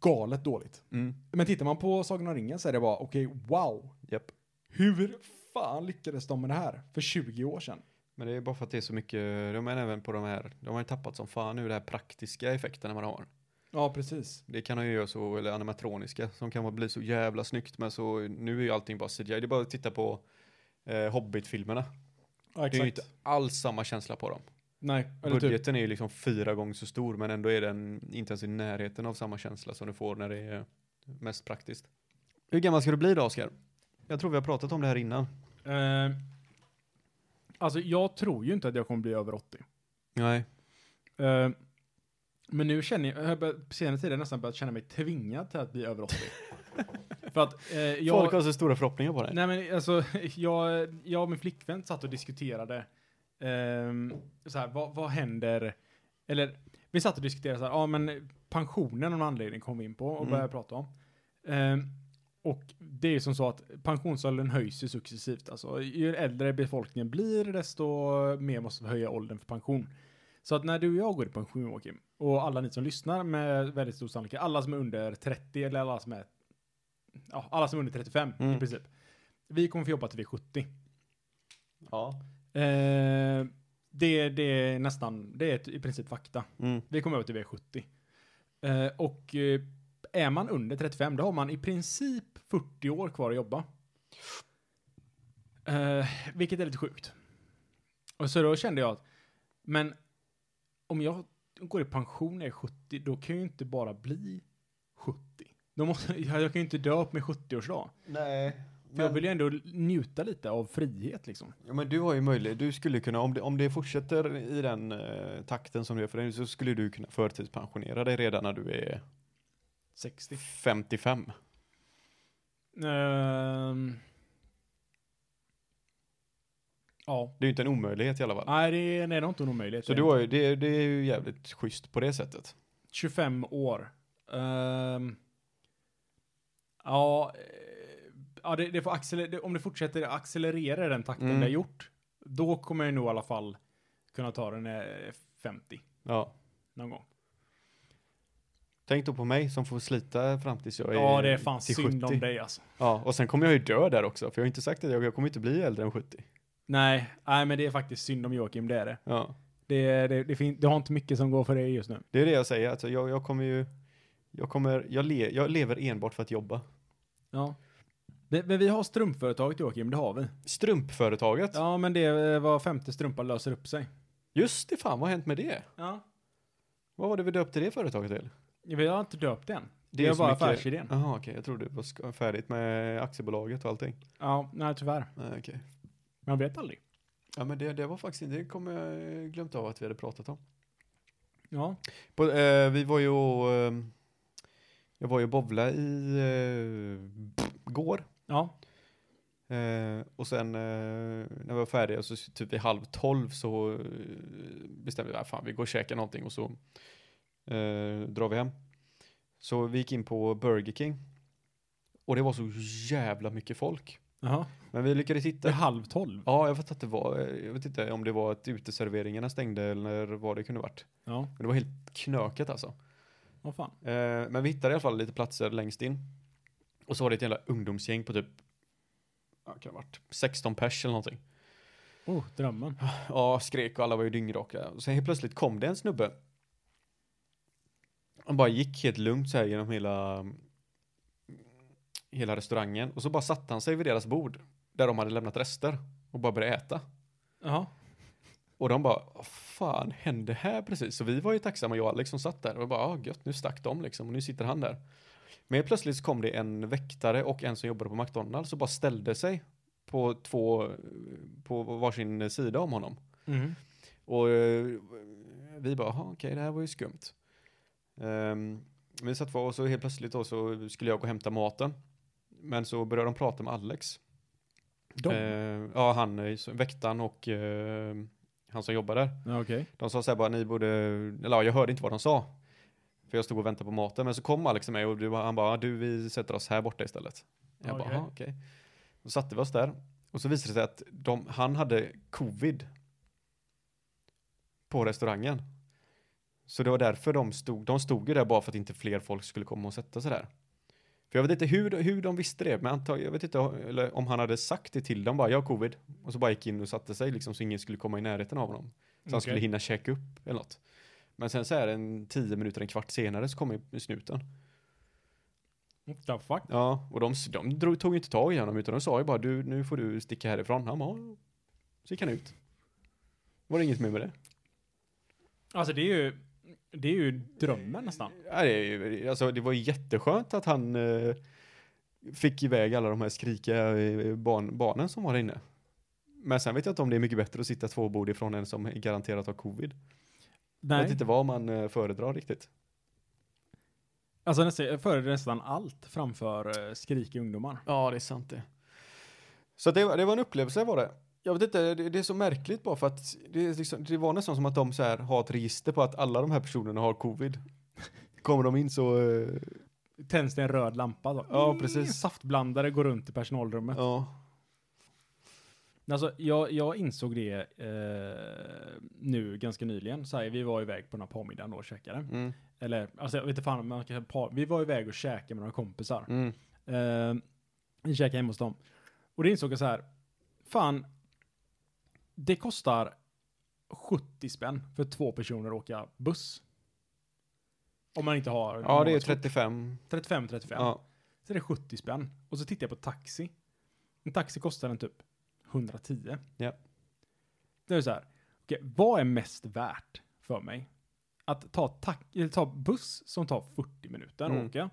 galet dåligt.
Mm.
Men tittar man på Sagan om ringen så är det bara, okej, wow!
Japp.
Hur fan lyckades de med det här för 20 år sedan?
Men det är bara för att det är så mycket, de är även på de här, de har ju tappat som fan nu det här praktiska effekterna man har.
Ja, precis.
Det kan de ju göra så, eller animatroniska, som kan bli så jävla snyggt men så nu är ju allting bara CGI. Det är bara att titta på eh, Hobbit-filmerna.
Ja,
Det är ju
exakt.
inte alls samma känsla på dem.
Nej, eller typ,
Budgeten är ju liksom fyra gånger så stor men ändå är den inte ens i närheten av samma känsla som du får när det är mest praktiskt. Hur gammal ska du bli då Oskar? Jag tror vi har pratat om det här innan.
Eh, alltså jag tror ju inte att jag kommer bli över 80.
Nej.
Eh, men nu känner jag, jag har börjat- på senare tid har jag nästan börjat känna mig tvingad till att bli över 80. För att eh, jag...
Folk har så stora förhoppningar på det.
Nej men alltså, jag, jag och min flickvän satt och diskuterade ehm, så här, vad, vad händer? Eller vi satt och diskuterade så här, ja men pensionen av någon anledning kom vi in på och
Mm.
började prata om. Ehm, och det är ju som så att pensionsåldern höjs ju successivt. Alltså, ju äldre befolkningen blir, desto mer måste vi höja åldern för pension. Så att när du och jag går i pension, Joakim, och alla ni som lyssnar med väldigt stor sannolikhet, alla som är under 30 eller alla som är, ja, alla som är under 35 i
Mm.
princip. Vi kommer få jobba till vi är 70.
Ja.
Eh, det, det är nästan, det är ett- i princip fakta.
Mm.
Vi kommer över till vi är 70. Eh, och eh, är man under 35, då har man i princip 40 år kvar att jobba. Eh, vilket är lite sjukt. Och så då kände jag att, men om jag går i pension när jag är 70, då kan jag ju inte bara bli 70. Då måste, jag jag kan ju inte dö upp med 70-årsdag.
Nej.
För jag vill ju ändå njuta lite av frihet liksom.
Ja, men du har ju möjlighet, du skulle kunna, om det, om det fortsätter i den eh, takten som det är för dig så skulle du kunna förtidspensionera dig redan när du är
60.
55.
Ehm. ja.
Det är ju inte en omöjlighet i alla fall.
Nej, det är, nej, det är inte en omöjlighet.
Så du har ju, det, det är ju jävligt schysst på det sättet.
25 år. Ehm. ja, eh, ja det, det får acceler- det, om det fortsätter accelerera i den takten
Mm.
det har gjort, då kommer jag nog i alla fall kunna ta den eh, 50
Ja.
någon gång.
Tänk då på mig som får slita fram tills jag är
Ja, det är fan
till
synd
70.
om dig alltså.
Ja, och sen kommer jag ju dö där också, för jag har inte sagt att jag, jag kommer inte bli äldre än 70.
Nej, nej, men det är faktiskt synd om Joakim, det är det.
Ja.
Det, är- det, det, fin- det har inte mycket som går för dig just nu.
Det är det jag säger, alltså jag, jag kommer ju, jag kommer, jag, le, jag lever enbart för att jobba.
Ja. Det, men vi har strumpföretaget Joakim, det har vi.
Strumpföretaget,
Ja, men det eh, var femte strumpa löser upp sig.
just det fan, vad har hänt med det?
Ja.
Vad var det vi döpte det företaget till?
Vi har inte döpt den.
Det
är
så
bara
mycket-
affärsidén.
Jaha, okej, jag trodde det var sk- färdigt med aktiebolaget och allting.
Ja, nej tyvärr.
Nej, okej.
Man vet aldrig.
Ja, men det, det var faktiskt inte, det kommer jag glömt av att vi hade pratat om.
Ja.
På, eh, vi var ju och, eh, jag var ju och bowla i eh, går.
Ja.
Eh, och sen eh, när vi var färdiga så s- typ vid halv tolv så eh, bestämde vi att fan vi går och käkar någonting och så eh, drar vi hem. Så vi gick in på Burger King. Och det var så jävla mycket folk.
Jaha.
Men vi lyckades
Det är
hitta.
halv tolv.
Ja, jag vet att det var. eh, Jag vet inte om det var att uteserveringarna stängde eller vad det kunde varit.
Ja.
Men det var helt knökat alltså.
Vad fan.
Eh, men vi hittade i alla fall lite platser längst in. Och så var det ett jävla ungdomsgäng på typ, ja, kan det ha varit 16 pers eller någonting.
Oh, drömmen.
Ja, skrek och alla var ju dyngraka. Och sen helt plötsligt kom det en snubbe. Han bara gick helt lugnt så här genom hela hela restaurangen och så bara satte han sig vid deras bord där de hade lämnat rester och bara började äta.
Jaha.
Och de bara, vad fan hände här precis? Så vi var ju tacksamma, jag och Alex som satt där. Och bara, ah, gött, nu stack de liksom och nu sitter han där. Men helt plötsligt så kom det en väktare och en som jobbade på McDonalds och bara ställde sig på två, på varsin sida om honom.
Mm.
Och eh, vi bara, "Jaha, okej, det här var ju skumt. Ehm, vi satt kvar och så helt plötsligt då så skulle jag gå och hämta maten. Men så började de prata med Alex.
De?
Ehm, ja, han, eh, så- väktaren och eh, han som jobbar där.
Ja, Okej.
De sa så här bara, ni borde, eller ja, jag hörde inte vad de sa. För jag stod och väntade på maten, men så kom Alex till mig och du, han bara, du vi sätter oss här borta istället. Jag bara,
Okej.
"Aha, okej. Då satte vi oss där. Och så visade det sig att de, han hade covid. På restaurangen. Så det var därför de stod, de stod ju där bara för att inte fler folk skulle komma och sätta sig där. För jag vet inte hur, de- hur de visste det, men antag, jag vet inte eller om han hade sagt det till dem bara, jag har covid. Och så bara gick in och satte sig liksom så ingen skulle komma i närheten av honom. Så han
Okej.
skulle hinna käka upp eller något. Men sen så här en tio minuter, en kvart senare så kom ju snuten.
What the fuck?
Ja, och de, de drog, tog ju inte tag i honom utan de sa ju bara du, nu får du sticka härifrån. Han bara, "Ja." så gick han ut. Var det inget mer med det?
Alltså det är ju, det är ju drömmen nästan.
Ja, det, är ju- alltså, det var ju jätteskönt att han eh, fick iväg alla de här skrikiga eh, barn, barnen som var där inne. Men sen vet jag inte om det är mycket bättre att sitta två bord ifrån en som garanterat har covid. Jag vet
Nej.
inte vad man eh, föredrar riktigt.
Alltså nästan, jag föredrar nästan allt framför eh, skrikiga ungdomar.
Ja, det är sant det. Så att det, var- det var en upplevelse var det. Jag vet inte, det, det är så märkligt bara för att det, är liksom, det var nästan som att de så här har ett register på att alla de här personerna har covid. Kommer de in så, eh,
Tänds det en röd lampa då? Mm,
Ja, precis.
Saftblandare går runt i personalrummet.
ja.
Alltså, jag, jag insåg det eh, nu ganska nyligen. Så här, vi var iväg på den här påmiddagen då och käkade.
Mm,
Eller, alltså jag vet inte fan om man kan säga par. Vi var iväg och käkade med några kompisar.
mm,
Eh, vi käkade hemma hos dem. Och det insåg jag så här. Fan, det kostar 70 spänn för två personer att åka buss. Om man inte har...
ja, det är
månadskort.
35.
35, 35.
Ja.
Så är det 70 spänn. Och så tittar jag på taxi. En taxi kostar den typ 110.
Ja.
Det är det så här. okej, vad är mest värt för mig? Att ta, tax- eller ta buss som tar 40 minuter att
Mm.
åka.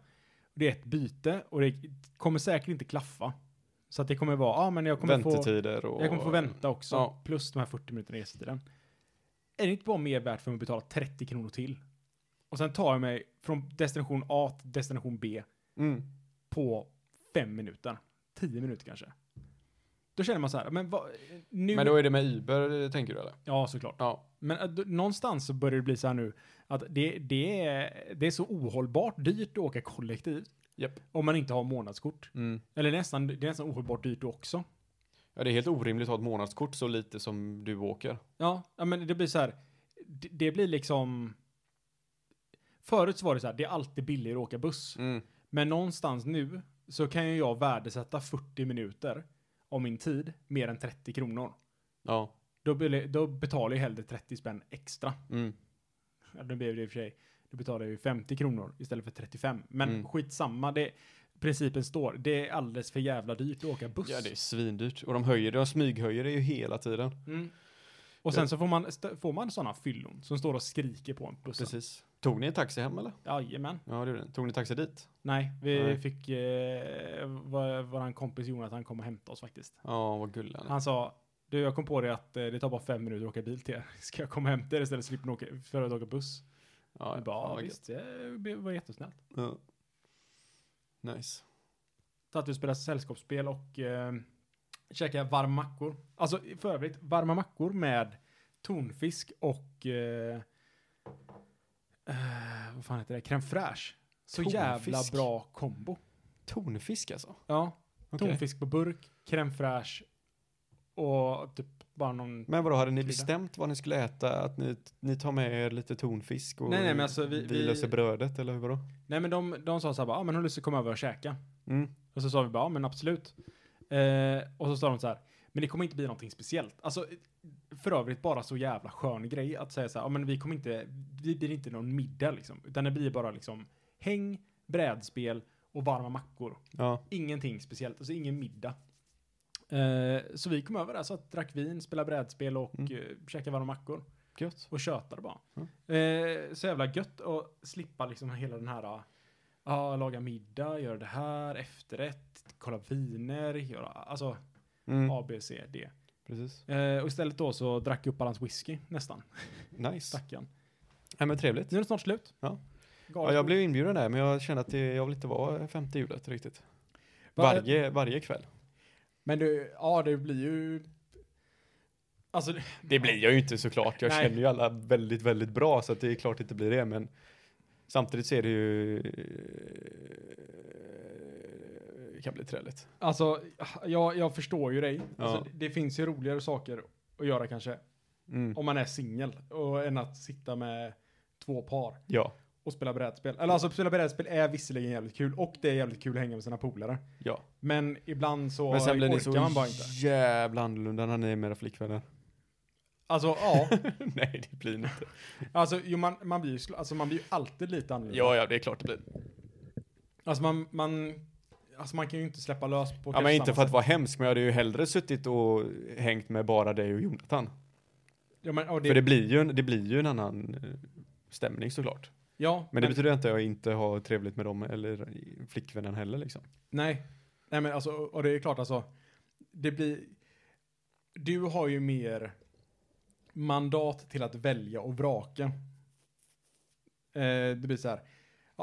Det är ett byte och det kommer säkert inte klaffa. Så att det kommer vara, ja ah, men jag kommer få...
Väntetider och...
Jag kommer få vänta också,
Ja.
plus de här 40 minuterna restiden. Är det inte bara mer värt för mig att betala 30 kronor till? Och sen tar jag mig från destination A till destination B
Mm.
på fem minuter. Tio minuter kanske. Då känner man så här, men vad, nu...
Men då är det med Uber, eh, tänker du eller?
Ja, såklart.
Ja.
Men äh, då- någonstans så börjar det bli så här nu att det, det, är, det är så ohållbart dyrt att åka kollektivt
Japp.
om man inte har månadskort.
Mm.
Eller nästan, det är nästan ohållbart dyrt också.
Ja, det är helt orimligt att ha ett månadskort så lite som du åker.
Ja, ja men det blir så här. Det, det blir liksom... Förut så var det så här, det är alltid billigare att åka buss.
Mm.
Men någonstans nu så kan ju jag värdesätta 40 minuter av min tid mer än 30 kronor.
Ja.
Då, bele- då betalar jag hellre 30 spänn extra.
Mm.
Ja, nu blev det i och för sig, då betalar jag ju 50 kronor istället för 35. Men
Mm.
skitsamma, det, principen står. Det är alldeles för jävla dyrt att åka buss.
Ja, det är svindyrt. Och de höjer, de smyghöjer det ju hela tiden.
mm. Och sen så får man, st- får man sådana fyllon som står och skriker på en buss.
Precis. Tog ni en taxi hem eller?
Jajamän.
Ja, det gjorde ni. Tog ni taxi dit?
Nej, vi
Nej.
fick eh, vår, våran kompis Jonathan kom och hämta oss faktiskt.
Ja, vad gullig han är.
Han sa, du jag kom på det att eh, det tar bara fem minuter att åka bil till er. Ska jag komma och hämta er istället slipper ni åka, för att åka buss?
Ja,
Ja, bara,
fan,
ja,
vad
visst, det var jättesnällt.
gött. Ja. Nice.
Satt vi och spelade sällskapsspel och eh, käkade varma mackor. Alltså för övrigt, varma mackor med tonfisk och eh, eh, vad fan heter det? Crème fraîche. Så jävla
Tonfisk.
bra kombo.
Tonfisk alltså?
Ja,
Okej.
tonfisk på burk, crème fraîche och typ bara någon...
Men vadå, hade ni
Krydda.
bestämt vad ni skulle äta? Att ni, ni tar med er lite tonfisk och
Nej, nej, men alltså, vi- vi-
löser brödet eller hur vadå?
Nej men de, de sa så här bara, ah, men har du lust att komma över och käka?
Mm.
Och så sa vi bara, ja men absolut. Eh, och så sa de så här, men det kommer inte bli någonting speciellt. Alltså, för övrigt bara så jävla skön grej att säga så här, ja men vi kommer inte, vi blir inte någon middag liksom. Utan det blir bara liksom häng, brädspel och varma mackor.
Ja.
Ingenting speciellt, alltså ingen middag. Eh, så vi kom över där, så att drack vin, spelade brädspel och
Mm.
eh, käkade varma mackor.
Gött.
Och tjötade bara.
Mm.
Eh, så jävla gött att slippa liksom hela den här, ja, ah, laga middag, göra det här, efterrätt, kolla viner, göra, alltså
Mm.
A, B, C, D.
Precis.
Eh, och istället då så drack jag upp all hans whisky, nästan,
Nice.
stackarn.
Nej men trevligt.
Nu är det snart slut.
Ja.
Galet
Ja, jag
kul.
blev inbjuden där men jag kände att det, jag vill inte vara femte hjulet riktigt.
Va- eh,
Varje, varje kväll.
Men du, ja det blir ju... Alltså,
Det blir jag ju inte såklart. Jag
Nej.
känner ju alla väldigt, väldigt bra så att det är klart det inte blir det men samtidigt så är det ju eh, det kan bli träligt.
alltså jag, jag förstår ju dig.
Ja.
Alltså, det, det finns ju roligare saker att göra kanske,
Mm.
om man är singel, och än att sitta med två par.
Ja,
och spela brädspel. Eller alltså spela brädspel är visserligen jävligt kul och det är jävligt kul att hänga med sina polare.
ja.
Men ibland så
Men sen blir
orkar
ni så
man bara inte.
jävla annorlunda när ni är med era flickvänner.
Alltså ja,
Nej, det blir ni inte.
alltså jo, man, man blir ju sl- alltså, man blir ju alltid lite annorlunda.
Ja, Mm. ja, det är klart det blir.
Alltså man, man, alltså man kan ju inte släppa lös på
Ja,
kanske
men inte
samma
för att
sätt.
vara hemsk, men jag hade ju hellre suttit och hängt med bara dig och Jonathan.
Ja, men, och det,
För det blir ju, en- det blir ju en annan eh, stämning såklart.
ja, men,
Men det betyder inte att jag inte har trevligt med dem eller i- flickvännen heller liksom.
Nej. Nej men alltså, och det är klart alltså. Det blir... Du har ju mer mandat till att välja och vraka. Eh, det blir så här. Ja,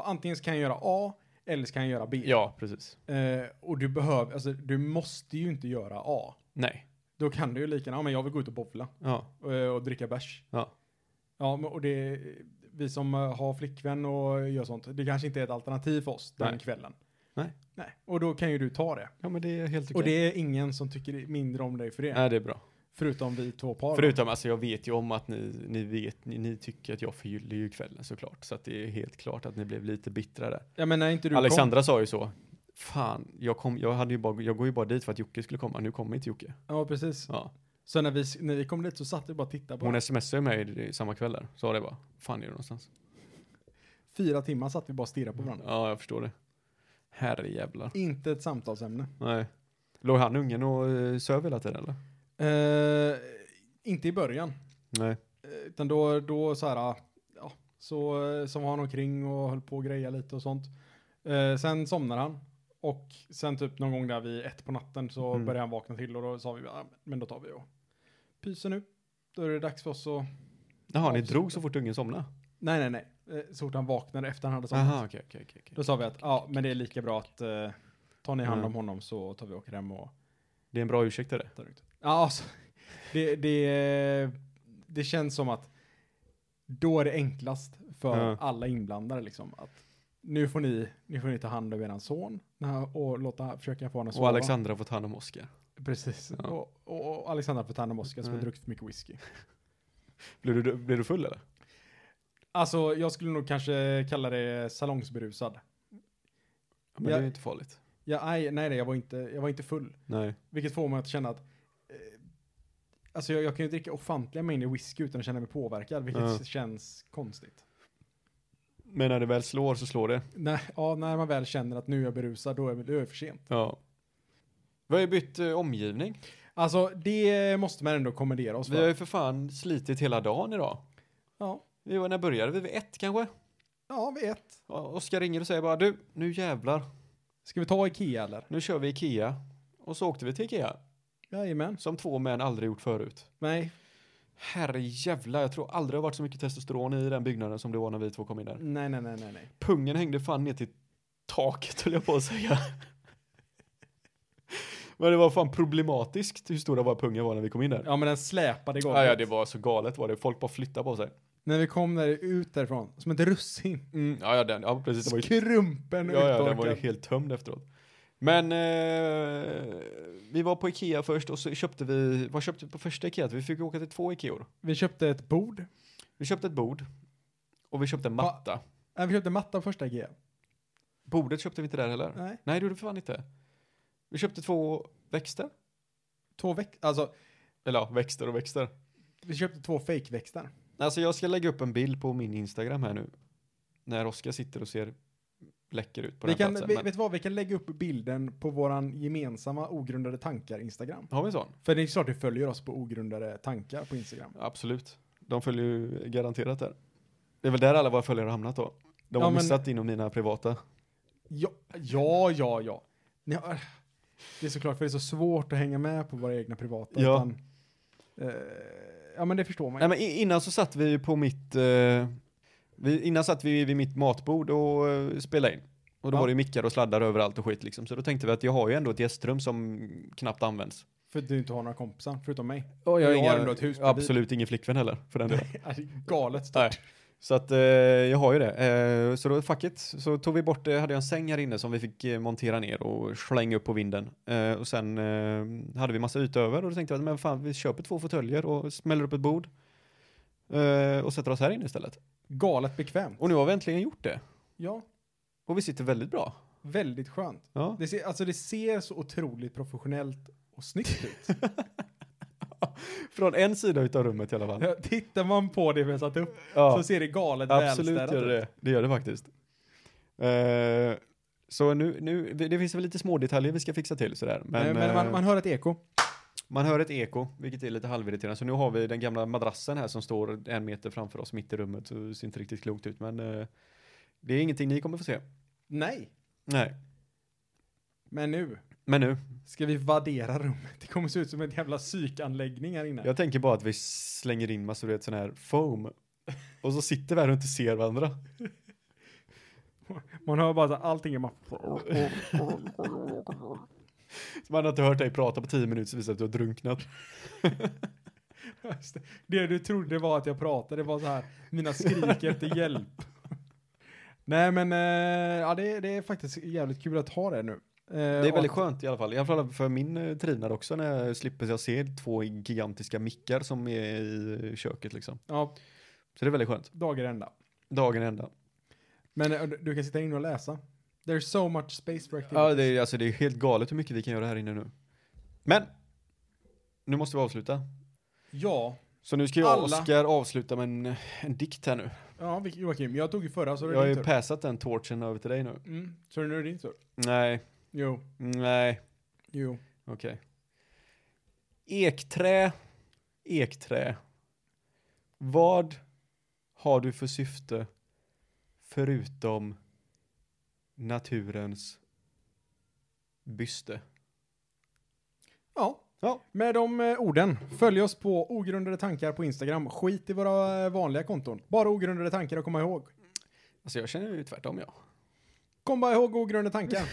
Och antingen så kan jag göra A eller så kan jag göra B.
Ja, precis.
Eh, och du behöver, alltså du måste ju inte göra A.
Nej.
Då kan du ju lika gärna, ja men jag vill gå ut och bowla
Ja.
eh, och dricka bärs.
Ja.
Ja, men, och det, vi som eh, har flickvän och gör sånt, det kanske inte är ett alternativ för oss den
Nej.
kvällen.
Nej.
Nej, och då kan ju du ta det.
Ja, men det är helt okej.
Och det är ingen som tycker mindre om dig för det.
Nej, det är bra.
Förutom vi två par. då.
Förutom, alltså jag vet ju om att ni, ni vet, ni, ni tycker att jag förgyller ju kvällen såklart. Så att det är helt klart att ni blev lite bittra där.
Ja men när inte du
Alexandra sa ju så. Fan, jag, kom, jag, hade ju bara, jag går ju bara dit för att Jocke skulle komma. Nu kommer inte Jocke.
kom. Ja precis.
Ja.
Så när vi, när vi kom dit så satt vi bara och tittade på
Hon smsade mig i- samma kväll där. Sa det bara. Fan är du någonstans?
Fyra timmar satt vi bara och stirrade
Mm.
på varandra.
Ja, jag förstår det. Herrejävlar.
Inte ett samtalsämne.
Nej. Låg han ungen och eh, söv hela tiden eller?
Eh, inte i början.
Nej.
Eh, Utan då, då så här, ah, ja, så, eh, så var han omkring och höll på och greja lite och sånt. Eh, sen somnar han. Och sen typ någon gång där vid ett på natten så
Mm.
började han vakna till och då sa vi, "Ja, men då tar vi och pyser nu. Då är det dags för oss att...
Jaha, ni
Absolut.
drog så fort ungen somnade?
Nej, nej, nej. Eh, Så fort han vaknade efter han hade somnat.
Jaha, okej, okej, okej,
Då
okej.
sa vi att, ja, men det är lika bra att eh, tar ni hand om
Mm.
honom så tar vi och åker hem och
Det är en bra ursäkt är det.
tar det ut. Ja, alltså, det, det, det känns som att då är det enklast för
Ja.
alla inblandade liksom. Att nu får ni, nu får ni ta hand om eran son när han- och låta, försöka få honom att sova.
Och Alexandra har fått hand om Oscar.
Precis.
Ja.
Och, och, och Alexandra får ta hand om Oskar som har
Nej.
druckit för mycket whisky.
Blev du, blev du full eller?
Alltså, jag skulle nog kanske kalla det salongsberusad.
Ja, men
Ja.
det är inte farligt.
Ja, nej, nej, nej, jag var inte, jag var inte full.
Nej.
Vilket får mig att känna att eh, Alltså jag, jag kan ju dricka ofantliga mängder whisky utan att känna mig påverkad, vilket
Ja.
känns konstigt.
Men när det väl slår så slår det.
När, ja, när man väl känner att nu är jag berusad, då är, då är det för sent.
Ja. Vi har ju bytt eh, omgivning.
Alltså det måste man ändå kommendera oss
Vi har
för.
ju för fan slitit hela dagen idag.
Ja,
Vi var, när började vi? Vid ett kanske?
ja vi ett.
Ja, Oskar ringer och säger bara du, nu jävlar,
Ska vi ta Ikea eller?
nu kör vi Ikea. Och så åkte vi till Ikea,
Jajamän.
som två män aldrig gjort förut.
Nej,
Herrejävlar, jag tror aldrig det har varit så mycket testosteron i den byggnaden som det var när vi två kom in där.
nej, nej, nej, nej, nej.
Pungen hängde fan ner till taket höll jag på att säga. Men det var fan problematiskt hur stora var pungen var när vi kom in där.
Ja men den släpade i golvet.
Ja, ja, det var så galet var det. Folk bara flyttade på sig.
När vi kom där ut därifrån, som ett russin.
Mm, ja, ja, den, ja, precis. Den var ju,
Skrumpen och
ja, ja, den var ju
uttorkad.
helt tömd efteråt. Men eh, vi var på Ikea först och så köpte vi, vad köpte vi på första Ikea? Vi fick åka till två Ikeor.
Vi köpte ett bord.
Vi köpte ett bord och vi köpte en
Va?
matta.
Nej, vi köpte matta på första Ikea.
Bordet köpte vi inte där heller.
Nej.
Nej, det gjorde vi fan inte. Vi köpte två växter.
Två veck, alltså
Eller ja, växter och växter.
vi köpte två fejkväxter.
Alltså jag ska lägga upp en bild på min Instagram här nu. När Oskar sitter och ser läcker ut på
Vi
den
kan,
platsen.
vi,
Men,
Vet du vad, vi kan lägga upp bilden på våran gemensamma ogrundade tankar Instagram.
Har vi en sån?
För det är klart du följer oss på ogrundade tankar på Instagram.
Absolut. De följer ju garanterat där. Det är väl där alla våra följare har hamnat då. De
Ja,
har
men-
missat inom mina privata.
Ja, ja, ja. ja. Ni har- ah. Det är såklart för det är så svårt att hänga med på våra egna privata.
Ja.
Utan, eh, ja men det förstår man ju.
Nej men i- innan så satt vi ju på mitt, eh, vi, innan satt vi vid mitt matbord och eh, spelade in. Och då
Ja.
var det ju mickar och sladdar överallt och skit liksom. Så då tänkte vi att jag har ju ändå ett gästrum som knappt används.
För att du inte har några kompisar, förutom mig.
Och
jag har ändå ett hus bredvid.
Absolut ingen flickvän heller för den delen.
Alltså, galet
Nej.
stort.
Så att eh, jag har ju det. Eh, så då, fuck it. Så tog vi bort det, hade jag en säng här inne som vi fick eh, montera ner och slänga upp på vinden. Eh, och sen eh, hade vi massa yta över och då tänkte jag att men fan, vi köper två fåtöljer och smäller upp ett bord. Eh, och sätter oss här inne istället.
Galet bekvämt.
Och nu har vi äntligen gjort det.
Ja,
Och vi sitter väldigt bra.
väldigt skönt.
Ja.
Det ser, alltså det ser så otroligt professionellt och snyggt ut.
Från en sida utav rummet i alla fall.
Ja, Tittar man på det vi har satt upp så
Ja,
ser det galet
absolut
välstädat ut.
gör det det. gör det faktiskt. Eh, så nu, nu, det finns väl lite små detaljer vi ska fixa till sådär. Men,
Men, men man,
eh,
man hör ett eko.
Man hör ett eko, vilket är lite halvirriterande. Så nu har vi den gamla madrassen här som står en meter framför oss mitt i rummet. Så det ser inte riktigt klokt ut, men eh, det är ingenting ni kommer få se.
Nej.
Nej,
Men nu
men nu.
ska vi vaddera rummet. Det kommer se ut som en jävla psykanläggning här inne.
Jag tänker bara att vi slänger in massor av sån här foam. Och så sitter vi här och inte ser varandra.
Man hör bara så här, allting är bara...
Så man har inte hört dig prata på tio minuter så visar det att du har drunknat.
Just det. Det du trodde var att jag pratade var så här, mina skrik efter hjälp. Nej men, eh, ja det, det är faktiskt jävligt kul att ha det nu. Eh, Det
Det är väldigt skönt i alla fall. I alla fall för min eh, trivnad också när jag slipper jag se två gigantiska mickar som är i köket liksom.
Ja,
Så det är väldigt skönt.
dagar ända.
Dagen ända.
Men eh, du- du kan sitta inne och läsa. There's so much space for activities.
Ja, det är, alltså, det är helt galet hur mycket vi kan göra här inne nu. Men! Nu måste vi avsluta.
ja,
Så nu ska jag
Alla.
och Oskar avsluta med en, en dikt här nu.
ja, vi- Joakim, jag tog ju förra så det
Jag har
är
ju
din tur.
passat den torchen över till dig nu.
Mm, så nu är det din tur.
Nej,
Jo,
nej,
jo.
okej. Ekträ, ekträ. Vad har du för syfte förutom naturens byste?
Ja.
Ja.
Med de eh, orden, följ oss på ogrundade tankar på Instagram. Skit i våra eh, vanliga konton. Bara ogrundade tankar och komma ihåg.
Alltså jag känner ju tvärtom jag.
Kom bara ihåg ogrundade tankar.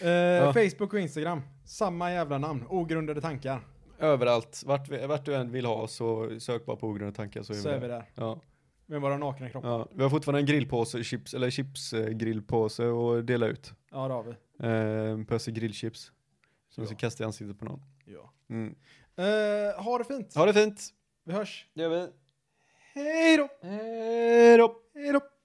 eh, Facebook och Instagram, samma jävla namn. Ogrundade tankar.
Överallt, vart, vi- vart du än vill ha så sök bara på ogrundade tankar så är vi
Så är vi
där.
där.
Ja,
Med våra nakna kroppar.
ja. Vi har fortfarande en grillpåse, chips, eller chipsgrillpåse och dela ut.
Ja, det har vi.
Eh, en påse grillchips.
Ja.
Som vi ska kasta i ansiktet på någon.
Ja. Eh, ha det fint.
Ha det fint!
Vi hörs.
Det gör vi.
Hej då!
Hej då!
Hej då!